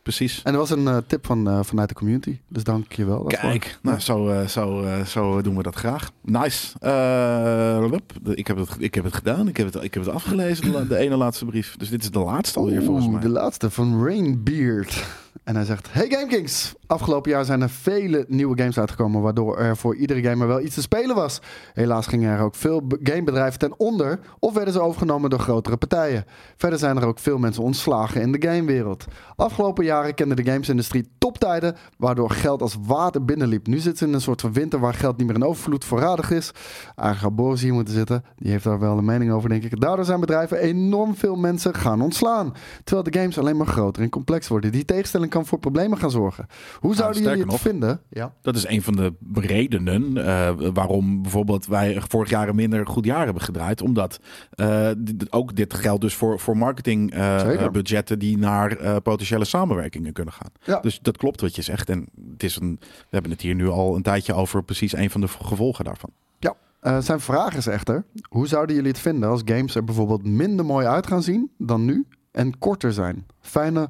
S1: Precies.
S2: En er was een eh, tip van, eh, vanuit de community. Dus dank je wel. daarvoor.
S1: Kijk, nou, zo, eh, zo, eh, zo doen we dat graag. Nice. Eh, wup. ik, heb het, ik heb het gedaan. Ik heb het, ik heb het afgelezen, de la- de ene laatste brief. Dus dit is de laatste alweer volgens
S2: Oeh,
S1: mij.
S2: de laatste van Rainbeard. En hij zegt: Hey GameKings! Afgelopen jaar zijn er vele nieuwe games uitgekomen, waardoor er voor iedere gamer wel iets te spelen was. Helaas gingen er ook veel be- gamebedrijven ten onder of werden ze overgenomen door grotere partijen. Verder zijn er ook veel mensen ontslagen in de gamewereld. Afgelopen jaren kende de gamesindustrie toptijden, waardoor geld als water binnenliep. Nu zitten ze in een soort van winter waar geld niet meer in overvloed voorradig is. Eigenlijk had Boris hier moeten zitten. Die heeft daar wel een mening over, denk ik. Daardoor zijn bedrijven enorm veel mensen gaan ontslaan. Terwijl de games alleen maar groter en complex worden. Die tegenstelling kan voor problemen gaan zorgen. Hoe zouden
S1: sterker
S2: jullie het
S1: nog-
S2: vinden? Ja.
S1: Dat is een van de redenen eh, waarom bijvoorbeeld wij vorig jaar een minder goed jaar hebben gedraaid. Omdat eh, dit- ook dit geldt dus voor, voor
S2: Zeker.
S1: marketingbudgetten die naar eh, potentiële samenwerkingen kunnen gaan.
S2: Ja.
S1: Dus dat klopt wat je zegt. En het is een, we hebben het hier nu al een tijdje over precies een van de gevolgen daarvan.
S2: Eh, zijn vraag is echter, hoe zouden jullie het vinden als games er bijvoorbeeld minder mooi uit gaan zien dan nu en korter zijn? Fijne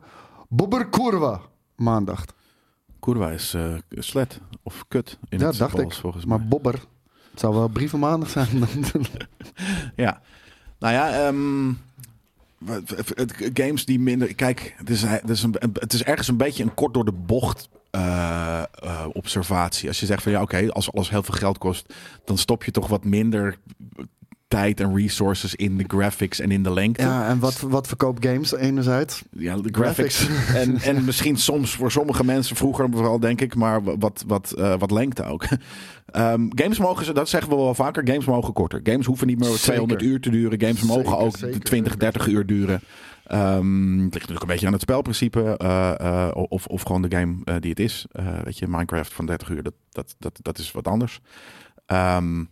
S2: Bobberkurva maandag.
S1: Kurwa is eh, slet of kut in
S2: Ja,
S1: het
S2: dacht
S1: Pools,
S2: ik.
S1: volgens mij.
S2: Dus Maar Bobber, het zou wel brieven maandag zijn.
S1: Ja. Nou ja, ehm, w- w- het- games die minder... Kijk, het is, het, is een, het is ergens een beetje een kort door de bocht eh, eh, observatie. Als je zegt van ja, oké, als alles heel veel geld kost... dan stop je toch wat minder tijd en resources in de graphics en in de lengte.
S2: ja, en wat, wat verkoopt games enerzijds?
S1: Ja, de graphics. En, en misschien soms voor sommige mensen, vroeger vooral denk ik, maar wat, wat, eh, wat lengte ook. Ehm, games mogen, ze- dat zeggen we wel vaker, games mogen korter. Games hoeven niet meer
S2: Zeker.
S1: 200 uur te duren. Games
S2: Zeker,
S1: mogen ook
S2: zeker,
S1: 20, 30 uur duren. Ehm, het ligt natuurlijk een beetje aan het spelprincipe. eh, eh, of, of gewoon de game eh, die het is. Eh, weet je, Minecraft van 30 uur, dat, dat, dat, dat is wat anders. Ehm,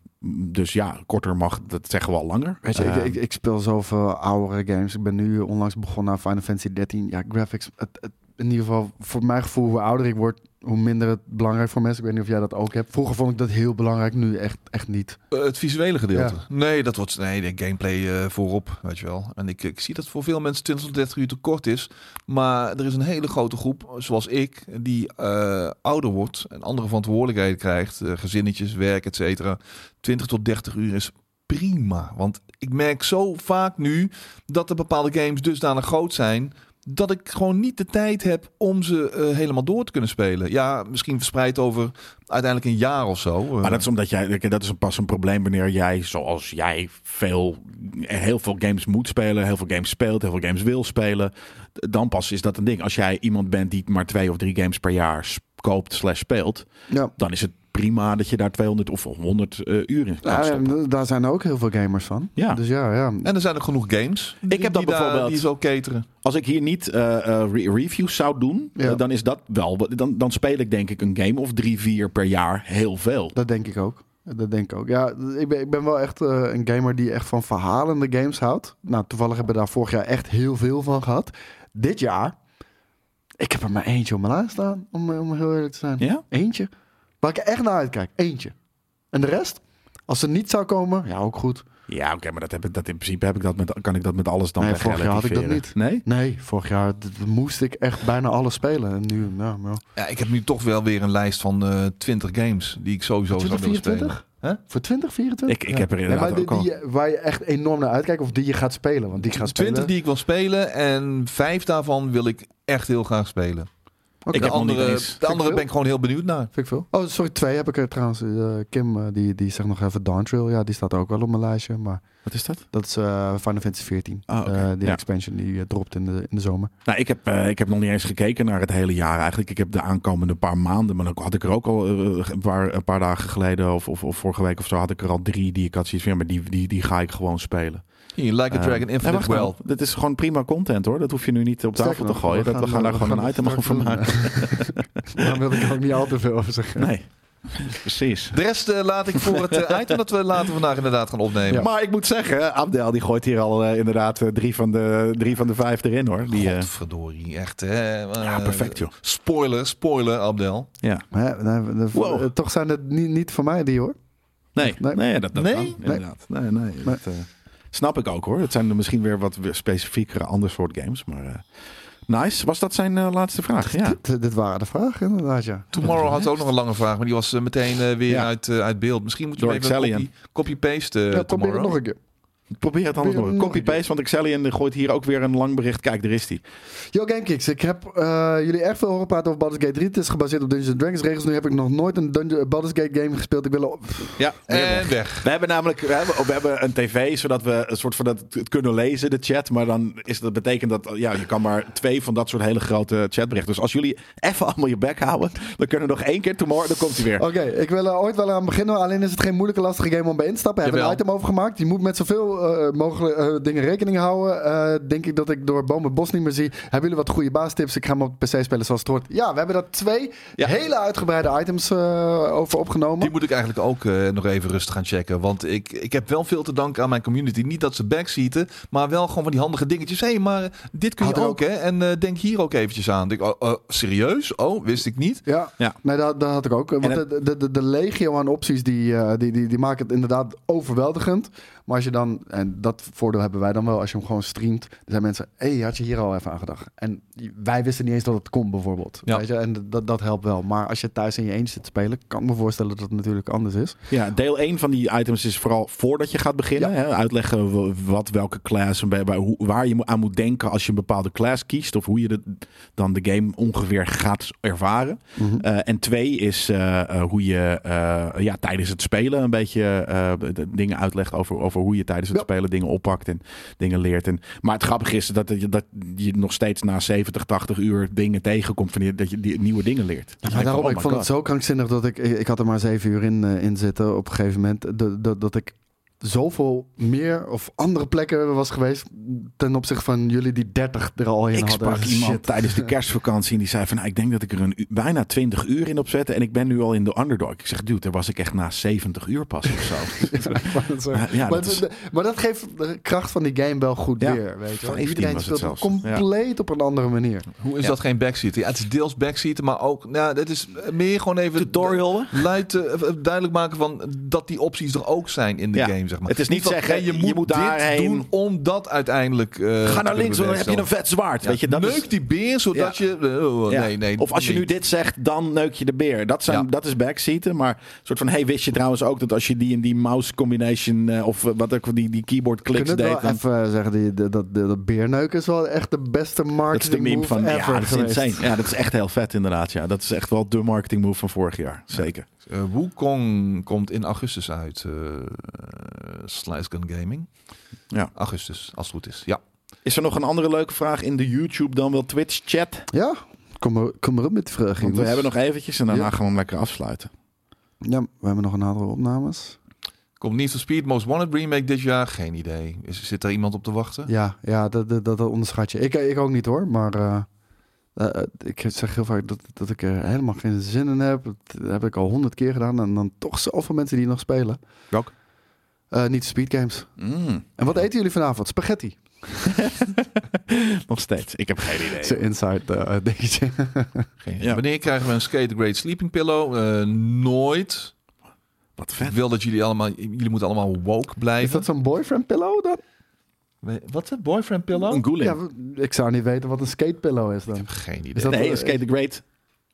S1: dus ja, korter mag, dat zeggen we al langer.
S2: Weet je,
S1: Ehm,
S2: ik, ik, ik speel zoveel oudere games. Ik ben nu onlangs begonnen aan Final Fantasy 13. Ja, graphics. Het, het- in ieder geval, voor mijn gevoel, hoe ouder ik word, hoe minder het belangrijk voor mensen. Ik weet niet of jij dat ook hebt. Vroeger vond ik dat heel belangrijk, nu echt, echt niet.
S3: Eh, Het visuele gedeelte. Nee, dat wordt nee, de gameplay eh, voorop, weet je wel. En ik, ik zie dat voor veel mensen 20 tot 30 uur te kort is. Maar er is een hele grote groep, zoals ik, die eh, ouder wordt en andere verantwoordelijkheden krijgt. eh, gezinnetjes, werk, et cetera. 20 tot 30 uur is prima. Want ik merk zo vaak nu dat er bepaalde games dusdanig groot zijn... Dat ik gewoon niet de tijd heb om ze eh, helemaal door te kunnen spelen. Ja, misschien verspreid over uiteindelijk een jaar of zo. eh.
S1: Maar dat is omdat jij, dat is een pas een probleem wanneer jij, zoals jij, veel, heel veel games moet spelen, heel veel games speelt, heel veel games wil spelen. Dan pas is dat een ding. Als jij iemand bent die maar twee of drie games per jaar s- koopt slash speelt,
S2: Ja.
S1: dan is het prima dat je daar 200 of 100 eh, uur in kan
S2: Ja,
S1: stoppen.
S2: en Nou, daar zijn ook heel veel gamers van.
S1: Ja.
S2: Dus ja, ja.
S3: En er zijn ook genoeg games.
S1: Ik heb dat
S3: die daar-
S1: bijvoorbeeld.
S3: die zo cateren.
S1: Als ik hier niet eh, eh, re- reviews zou doen,
S2: Ja.
S1: eh, dan is dat wel. wat- Dan, dan speel ik denk ik een game of drie, vier per jaar heel veel.
S2: Dat denk ik ook. Dat denk ik ook. Ja, ik ben, ik ben wel echt eh, een gamer die echt van verhalende games houdt. Nou, toevallig hebben we daar vorig jaar echt heel veel van gehad. Dit jaar, ik heb er maar eentje op mijn lijst staan, om, om heel eerlijk te zijn.
S1: Ja?
S2: Eentje. Waar ik echt naar uitkijk. Eentje. En de rest? Als ze niet zou komen, ja, ook goed.
S1: Ja, oké, maar dat heb ik, dat in principe heb ik dat met, kan ik dat met alles dan
S2: Nee, vorig jaar had ik dat
S1: relativeren. Nee?
S2: Nee, vorig jaar d- moest ik echt bijna alles spelen. En nu, nou, nou.
S3: Ja, ik heb nu toch wel weer een lijst van eh 20 games die ik sowieso zou willen spelen.
S2: 2024?
S3: Hè?
S2: Voor 2024?
S1: Ik, ik heb er
S2: Nee,
S1: inderdaad
S2: maar die,
S1: ook al.
S2: die, waar je echt enorm naar uitkijkt of die je gaat spelen. Want die gaat
S3: 20
S2: spelen.
S3: die ik wil spelen en vijf daarvan wil ik echt heel graag spelen.
S2: Oké.
S1: Ik
S3: de
S1: heb nog niet
S3: andere,
S1: eens.
S3: de
S2: Vind ik
S3: andere
S2: veel.
S3: ben ik gewoon heel benieuwd naar.
S2: Vind ik veel. Oh, sorry, twee heb ik er trouwens. Eh, Kim, eh, die, die zegt nog even Dawn Trail. Ja, die staat ook wel op mijn lijstje. Maar
S1: Wat is dat?
S2: dat is eh Final Fantasy 14.
S1: Ah, oké.
S2: Eh, die
S1: Ja.
S2: expansion die eh, dropt in de, in de zomer.
S1: Nou, ik heb, eh, ik heb nog niet eens gekeken naar het hele jaar eigenlijk. Ik heb de aankomende paar maanden, maar dan had ik er ook al eh, een, paar, een paar dagen geleden of, of, of vorige week of zo, had ik er al drie die ik had zoiets van, ja, maar die, die, die ga ik gewoon spelen.
S3: Hier, like a
S1: Eh,
S3: Dragon,
S1: nee,
S3: Infinite
S1: wacht nou.
S3: Well.
S1: Dat is gewoon prima content hoor. Dat hoef je nu niet op tafel te
S2: Sterker nog,
S1: gooien. dat, we gaan daar
S2: we
S1: gewoon een
S2: gaan het
S1: item over
S2: straks
S1: maken.
S2: doen. Daar wil ik er ook niet al te veel over zeggen.
S1: Nee, precies.
S3: De rest eh, laat ik voor het eh, item dat we later vandaag inderdaad gaan opnemen.
S1: Maar ik moet zeggen, Abdel die gooit hier al eh, inderdaad eh, drie, van de, drie van de vijf erin hoor. Die, eh,
S3: Godverdorie, echt hè.
S1: ja,
S3: Eh,
S1: perfect joh.
S3: Spoiler, spoiler, Abdel.
S1: Ja.
S2: Maar ja, nee, de-
S1: Wow.
S2: eh, toch zijn het niet, niet voor mij die hoor.
S1: Nee, nee,
S2: Nee.
S1: dat, dat
S3: Nee?
S1: kan, inderdaad. Nee, nee, dat, eh, snap ik ook hoor. Het zijn er misschien weer wat weer specifiekere ander soort games, maar eh, nice. Was dat zijn eh, laatste vraag? Ja. Eh,
S2: Dit, dit waren de vragen inderdaad, ja.
S3: Tomorrow had ook nog een lange vraag, maar die was eh, meteen eh, weer
S1: Ja.
S3: uit, eh, uit beeld. Misschien moet je
S1: Door
S3: hem even
S1: Excellion.
S3: copy- copy-paste eh,
S2: ja probeer
S3: Tomorrow.
S2: het nog een keer.
S1: Probeer het anders
S2: Probeer
S1: nog.
S2: nog een
S1: Copy-paste, want Excellion gooit hier ook weer een lang bericht. Kijk, daar is die.
S2: Yo Gamekicks, ik heb eh, jullie erg veel horen praten over Baldur's Gate 3. Het is gebaseerd op Dungeons and Dragons regels. Nu heb ik nog nooit een Dungeon, Baldur's Gate game gespeeld. Ik wil... op-
S1: Ja, Eh,
S3: En weg.
S1: we hebben namelijk we hebben, we hebben een tv, zodat we een soort van dat, het kunnen lezen, de chat. Maar dan is dat betekent dat ja, je kan maar twee van dat soort hele grote chatberichten. Dus als jullie even allemaal je bek houden, dan kunnen we nog één keer tomorrow. Dan komt hij weer.
S2: Oké, ik wil er ooit wel aan beginnen. Alleen is het geen moeilijke, lastige game om bij in te stappen. We hebben een
S3: Jawel.
S2: item over gemaakt. Je moet met zoveel eh, mogelijk eh, dingen rekening houden. Eh, denk ik dat ik door bomen het bos niet meer zie. Hebben jullie wat goede baastips? Ik ga hem op de PC spelen zoals het hoort. Ja, we hebben daar twee
S1: Ja.
S2: hele uitgebreide items eh, over opgenomen.
S3: Die moet ik eigenlijk ook eh, nog even rustig gaan checken. Want ik, ik heb wel veel te danken aan mijn community. Niet dat ze backseaten, maar wel gewoon van die handige dingetjes. Hé, hey, maar dit kun
S2: Had
S3: je
S2: er
S3: ook, hè? En eh, denk hier ook eventjes aan. Denk, ik, oh, eh, serieus? Oh, wist ik niet.
S2: Ja,
S1: Ja.
S2: Nee, dat, dat had ik ook. Want
S1: En
S2: de, de, de, de legio aan opties die, eh, die, die, die maken het inderdaad overweldigend. Maar als je dan, en dat voordeel hebben wij dan wel, als je hem gewoon streamt, dan zijn mensen, hé, hey, had je hier al even aan gedacht? En wij wisten niet eens dat het kon bijvoorbeeld.
S3: Ja.
S2: Weet je? En dat, dat helpt wel. Maar als je thuis in je eentje zit te spelen, kan ik me voorstellen dat het natuurlijk anders is.
S1: Ja, deel 1 van die items is vooral voordat je gaat beginnen. Hè, uitleggen w- wat welke class en bij, bij hoe- waar je mo- aan moet denken als je een bepaalde class kiest. Of hoe je de, dan de game ongeveer gaat ervaren. Eh, en twee is eh, eh, hoe je eh, ja, tijdens het spelen een beetje eh, de- dingen uitlegt over, over hoe je tijdens het
S2: Ja.
S1: spelen dingen oppakt en dingen leert. En, maar het grappige is dat, je- dat je nog steeds na 70, 80 uur dingen tegenkomt van die, dat je die nieuwe dingen leert.
S2: Ja, maar daarom, ik vond het zo krankzinnig dat ik, ik, ik had er maar zeven uur in, eh, in zitten op een gegeven moment. Dat, dat, dat ik zoveel meer of andere plekken was geweest ten opzichte van jullie die 30 er al in
S1: Ik
S2: hadden.
S1: sprak iemand tijdens de kerstvakantie en die zei van... Nou, ik denk dat ik er een u- bijna 20 uur in opzette en ik ben nu al in de underdog. Ik zeg, dude, daar was ik echt na 70 uur pas of zo.
S2: Ik wou dat zeggen.
S1: Ja, ja,
S2: maar,
S1: dat
S2: het- maar dat geeft de kracht van die game wel goed
S1: Ja,
S2: weer. Weet je. wel.
S1: 15
S2: Iedereen
S1: was het
S2: speelt het
S1: zelfs.
S2: compleet op een andere manier.
S3: Hoe is
S1: Ja.
S3: dat geen backseat? Ja, het is deels backseat, maar ook... Nou, dit is meer gewoon even...
S1: Tutorialen?
S3: Luid, eh, eh, duidelijk maken van dat die opties er ook zijn in de
S1: Ja.
S3: game, zeg maar.
S1: Het is niet
S3: van,
S1: zeggen,
S3: nee,
S1: je moet
S3: dit
S1: daarheen.
S3: doen om dat uiteindelijk... eh, te
S1: Ga naar
S3: kunnen
S1: links, want dan heb je een
S3: bewerkstelligen.
S1: vet zwaard.
S3: Ja,
S1: Weet je, dat
S3: neuk
S1: is,
S3: die beer, zodat
S1: Ja.
S3: je... oh,
S1: ja.
S3: nee, nee,
S1: of als je
S3: nee.
S1: nu dit zegt, dan neuk je de beer. Dat, zijn,
S3: Ja.
S1: dat is backseaten. Maar een soort van, hey, wist je trouwens ook dat als je die en die mouse combination... eh, of eh, wat ook, die, die keyboard
S2: Kunnen
S1: clicks
S2: we
S1: deed...
S2: wel
S1: dan-
S2: even eh, zeggen, die, dat, dat, dat beerneuken is wel echt de beste
S1: Dat is
S2: marketing
S1: de meme van,
S2: ever
S1: ja, dat is
S2: geweest.
S1: insane. Ja, dat is echt heel vet inderdaad. Ja, dat is echt wel de marketing move van vorig jaar. Zeker.
S3: Eh, Wukong komt in augustus uit. eh Slice Gun Gaming.
S1: Ja.
S3: Augustus, als het goed is. Ja.
S1: Is er nog een andere leuke vraag in de YouTube dan wel Twitch chat?
S2: Ja, kom maar, kom maar op met die vraag.
S1: Want we
S2: jongens.
S1: hebben nog eventjes en daarna
S2: Ja.
S1: gaan we hem lekker afsluiten.
S2: Ja, we hebben nog een aantal opnames.
S3: Komt Need for Speed Most Wanted Remake dit jaar? Geen idee. Is, zit er iemand op te wachten?
S2: Ja, ja dat, dat, dat onderschat je. Ik, ik ook niet hoor, maar eh, eh, eh, ik zeg heel vaak dat, dat ik er helemaal geen zin in heb. Dat heb ik al honderd keer gedaan en dan toch zoveel mensen die nog spelen.
S1: Welk?
S2: Eh, niet speed games.
S1: Mm,
S2: En wat eten jullie vanavond? Spaghetti.
S1: nog steeds. Ik heb geen idee.
S2: Dat is een inside eh, dingetje.
S3: Geen
S1: Ja.
S3: Wanneer krijgen we een Skate Great Sleeping Pillow? Eh, nooit.
S1: Wat
S3: Ik
S1: vet.
S3: wil dat jullie allemaal... Jullie moeten allemaal woke
S2: Is
S3: blijven.
S2: dat zo'n boyfriend pillow dan?
S3: We- Wat is het? Boyfriend Pillow?
S1: Een
S2: Ja,
S1: Goeling.
S2: we- ik zou niet weten wat een skate pillow is
S3: Ik
S2: dan.
S3: heb geen idee.
S2: Is dat-
S1: nee, een Skate the Great.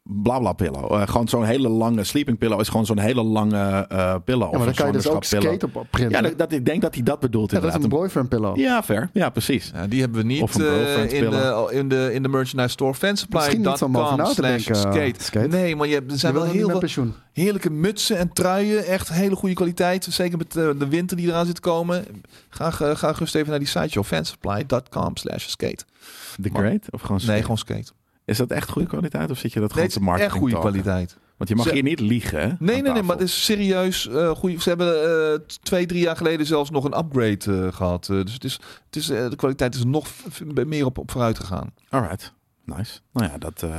S1: Blabla pillow. Eh, gewoon zo'n hele lange sleeping pillow is gewoon zo'n hele lange eh pillow.
S2: Ja, maar dan
S1: Of
S2: kan je
S1: een
S2: dus ook
S1: zwangerschap pillow.
S2: skate op printen.
S1: Ja, dat, dat- ik denk dat hij dat bedoelt
S2: Ja, dat is
S1: inderdaad.
S2: een boyfriend pillow.
S1: Een- ja, fair. Ja, precies.
S3: Ja, die hebben we
S1: Of
S3: niet
S1: een
S3: eh,
S1: girlfriend
S3: in, de,
S1: pillen.
S3: in, de, in de merchandise store.
S2: Misschien niet om over
S3: Fansupply.com
S2: na te
S3: slash
S2: denken, eh,
S3: skate.
S2: skate.
S3: Nee, maar je hebt, er
S2: Je
S3: zijn
S2: wil
S3: wel
S2: niet
S3: heel
S2: met
S3: veel
S2: pensioen.
S3: heerlijke mutsen en truien. Echt hele goede kwaliteit. Zeker met eh, de winter die eraan zit te komen. Ga, ge- ga gerust even naar die site, joh. Fansupply.com slash skate.
S1: The Great? Of gewoon
S3: Nee, gewoon skate.
S1: Is dat echt goede kwaliteit of zit je dat
S3: Nee,
S1: gewoon
S3: het
S1: te
S3: is
S1: marketing
S3: echt goede
S1: talken?
S3: kwaliteit.
S1: Want je mag
S3: Ze-
S1: hier niet liegen, hè? aan
S3: Nee, nee, nee,
S1: tafel.
S3: maar het is serieus eh goed. Ze hebben eh, t- twee, drie jaar geleden zelfs nog een upgrade eh, gehad. Eh, dus het is, het is, eh, de kwaliteit is nog v- v- meer op, op vooruit gegaan.
S1: Alright. Nice. Nou ja, dat eh,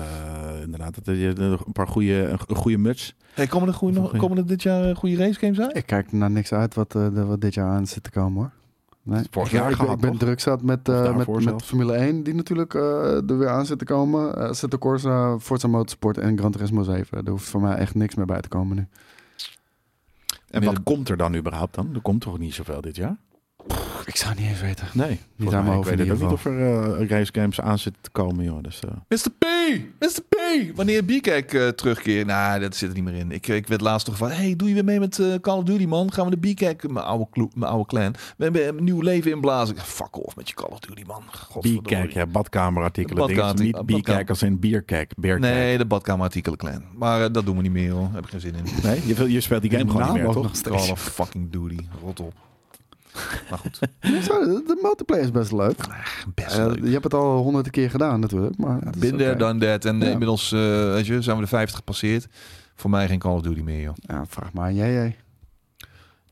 S1: inderdaad. Dat, je een paar goede, een, een goede muts.
S3: Hey, komen, er goeie, nog- komen er dit jaar eh, goede race games uit?
S2: Ik kijk naar niks uit wat, eh, de- wat dit jaar aan zit te komen hoor. Nee.
S1: Vorig
S2: Ja,
S1: jaar
S2: ik ben,
S1: gehad,
S2: ik ben
S1: toch?
S2: druk zat met,
S1: Of
S2: eh, met,
S1: daarvoor
S2: met
S1: zelfs.
S2: Formule 1, die natuurlijk eh, er weer aan zit te komen. Eh zit de Corsa, Forza Motorsport en Gran Turismo 7. Daar hoeft voor mij echt niks meer bij te komen nu.
S1: En
S3: Midden-
S1: wat komt er dan überhaupt dan? Er komt toch niet zoveel dit jaar?
S2: Ik zou niet eens weten.
S1: Nee. Volgens
S2: aan mijn
S1: ik
S2: hoofd
S1: weet
S2: in
S1: het ook niet
S2: ieder
S1: of er eh, race games aan zitten te komen, joh. Dus, eh,
S3: Mr. P! Mr. P! Wanneer B-Kijk eh, terugkeert? Nou, dat zit er niet meer in. Ik, ik werd laatst nog van... Hey, doe je weer mee met eh, Call of Duty, man? Gaan we de B-Kijk, mijn oude, clo- mijn oude clan... We hebben een nieuw leven inblazen. Ik, Fuck off met je Call of Duty, man. Godverdomme.
S1: bierkijk, ja, badkamerartikelen.
S3: Badkamer-
S1: dingen. niet
S3: badkamer.
S1: bierkijk als in bierkijk, beerkijk.
S3: Nee, de badkamerartikelen clan. Maar eh, dat doen we niet meer, hoor. Heb ik geen zin in.
S1: Nee, je, wil- je speelt die game gewoon
S2: Naam
S1: niet meer,
S2: ook
S1: toch?
S2: nog steeds.
S3: Call of fucking Duty. Rot op. Maar goed,
S2: Zo, de, de multiplayer is best leuk.
S3: best
S2: Eh,
S3: leuk.
S2: je hebt het al honderden keer gedaan natuurlijk. Maar het is
S3: Been there,
S2: oké.
S3: done that. En eh,
S2: Ja.
S3: inmiddels eh, weet je, zijn we de 50 gepasseerd. Voor mij geen Call of Duty meer, joh.
S2: Ja, vraag maar aan jij.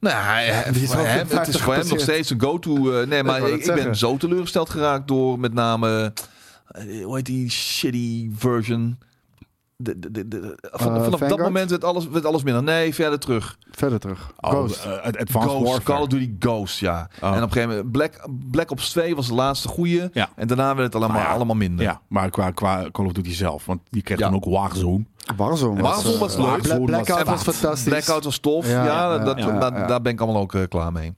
S3: Nou, hij-
S2: Die is
S3: voor
S2: al
S3: hem, het
S2: 50
S3: is voor hem nog
S2: gepasseerd.
S3: steeds een go-to. eh, nee, maar
S2: wou
S3: ik,
S2: dat
S3: ik ben
S2: zeggen.
S3: zo teleurgesteld geraakt door met name... eh, hoe heet die shitty version? De, de, de, de- van-
S2: Eh,
S3: vanaf dat
S2: Vanguard?
S3: moment werd alles, werd alles minder. Nee, verder terug.
S2: Verder terug.
S1: Oh,
S2: Ghost.
S1: eh, Advanced
S3: Ghost,
S1: Warfare.
S3: Call of Duty Ghost, ja.
S1: Oh.
S3: En op een gegeven moment... Black, Black Ops 2 was de laatste goeie.
S1: Ja.
S3: En daarna werd het allemaal,
S1: Maar ja,
S3: allemaal minder.
S1: Ja, maar qua, qua Call of Duty zelf. Want die kreeg
S3: Ja.
S1: dan ook Warzone.
S2: Warzone was,
S3: Warzone
S2: eh,
S3: was leuk.
S2: Bla- Blackout
S1: En
S2: was fantastisch.
S3: Blackout was tof. Ja,
S2: Ja, ja,
S3: dat,
S2: ja,
S3: dat-
S2: ja.
S3: daar ben ik allemaal ook eh, klaar mee.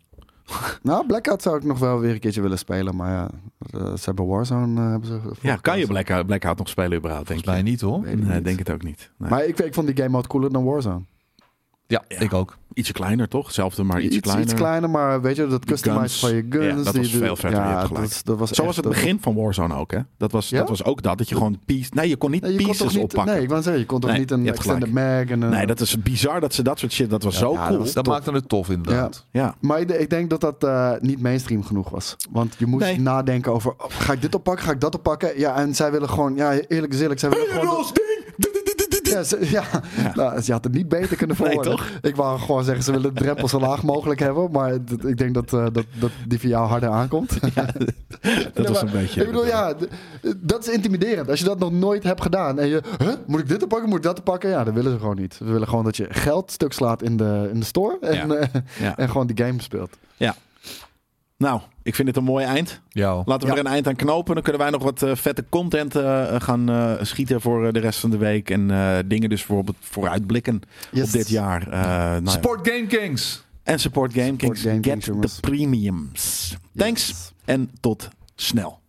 S2: Nou, Blackout zou ik nog wel weer een keertje willen spelen. Maar ja, eh, ze hebben Warzone. eh, hebben ze
S1: Ja, kan je Blackout, Blackout nog spelen überhaupt, denk
S3: Volgens
S1: je?
S3: mij niet, hoor.
S2: Weet ik
S1: Nee,
S2: niet.
S1: denk het ook niet. Nee.
S2: Maar ik, ik vond die game mode cooler dan Warzone.
S3: Ja,
S1: Ja.
S3: ik ook.
S1: Ietsje kleiner, toch? Hetzelfde, maar
S2: iets,
S1: ietsje
S2: iets kleiner.
S1: kleiner.
S2: maar weet je, dat
S1: Die
S2: customize
S1: guns.
S2: van je guns.
S1: Ja, dat
S2: die-
S1: was
S2: die-
S1: veel vetter, je hebt
S2: Ja,
S1: gelijk.
S2: dat, dat was
S1: Zo was
S2: echt
S1: het
S2: een-
S1: begin van Warzone ook, hè? Dat was,
S2: Ja?
S1: dat was ook dat, dat je gewoon piece... Nee, je kon niet
S2: Nee, je kon
S1: pieces
S2: toch niet,
S1: oppakken.
S2: Nee,
S1: Nee,
S2: ik wou zeggen, je kon toch
S1: Nee,
S2: niet een
S1: je hebt
S2: extended mag en een-
S1: dat is bizar dat ze dat soort shit... Dat was zo
S2: ja,
S1: cool.
S2: dat was-
S3: Dat maakte het tof, inderdaad.
S1: Ja.
S2: Maar ik, de- ik denk dat dat eh, niet mainstream genoeg was. Want je moest
S1: Nee.
S2: nadenken over, oh, ga ik dit oppakken, ga ik dat oppakken? Ja, en zij willen gewoon, ja, eerlijk is eerlijk, zij willen gewoon...
S1: ding!
S2: Ja, ze, ja. Nou, ze had het niet beter kunnen
S1: Nee,
S2: verwoorden.
S1: toch?
S2: Ik wou gewoon zeggen, ze willen de drempel zo laag mogelijk hebben. Maar dat- ik denk dat, eh, dat, dat die voor jou harder aankomt.
S1: Dat was een
S2: maar-
S1: beetje...
S2: Ik bedoel, ja, d- dat is intimiderend. Als je dat nog nooit hebt gedaan en je, huh, moet ik dit te pakken, moet ik dat te pakken? Ja, dat willen ze gewoon niet. Ze willen gewoon dat je geld stuk slaat in de, in de store en,
S1: Ja.
S2: eh,
S1: Ja.
S2: en gewoon die game speelt.
S1: Nou, ik vind het een mooi eind.
S3: Ja. hoor.
S1: Laten we er een eind aan knopen. Dan kunnen wij nog wat eh, vette content eh, gaan eh, schieten voor eh, de rest van de week. En eh, dingen dus bijvoorbeeld vooruitblikken op
S2: Yes.
S1: dit jaar. Eh, nou ja.
S3: Sport Game Kings.
S1: En support Game
S2: Support
S1: Kings.
S2: Game
S1: Get
S2: Kings, jongens.
S1: the premiums. Thanks
S2: Yes.
S1: en tot snel.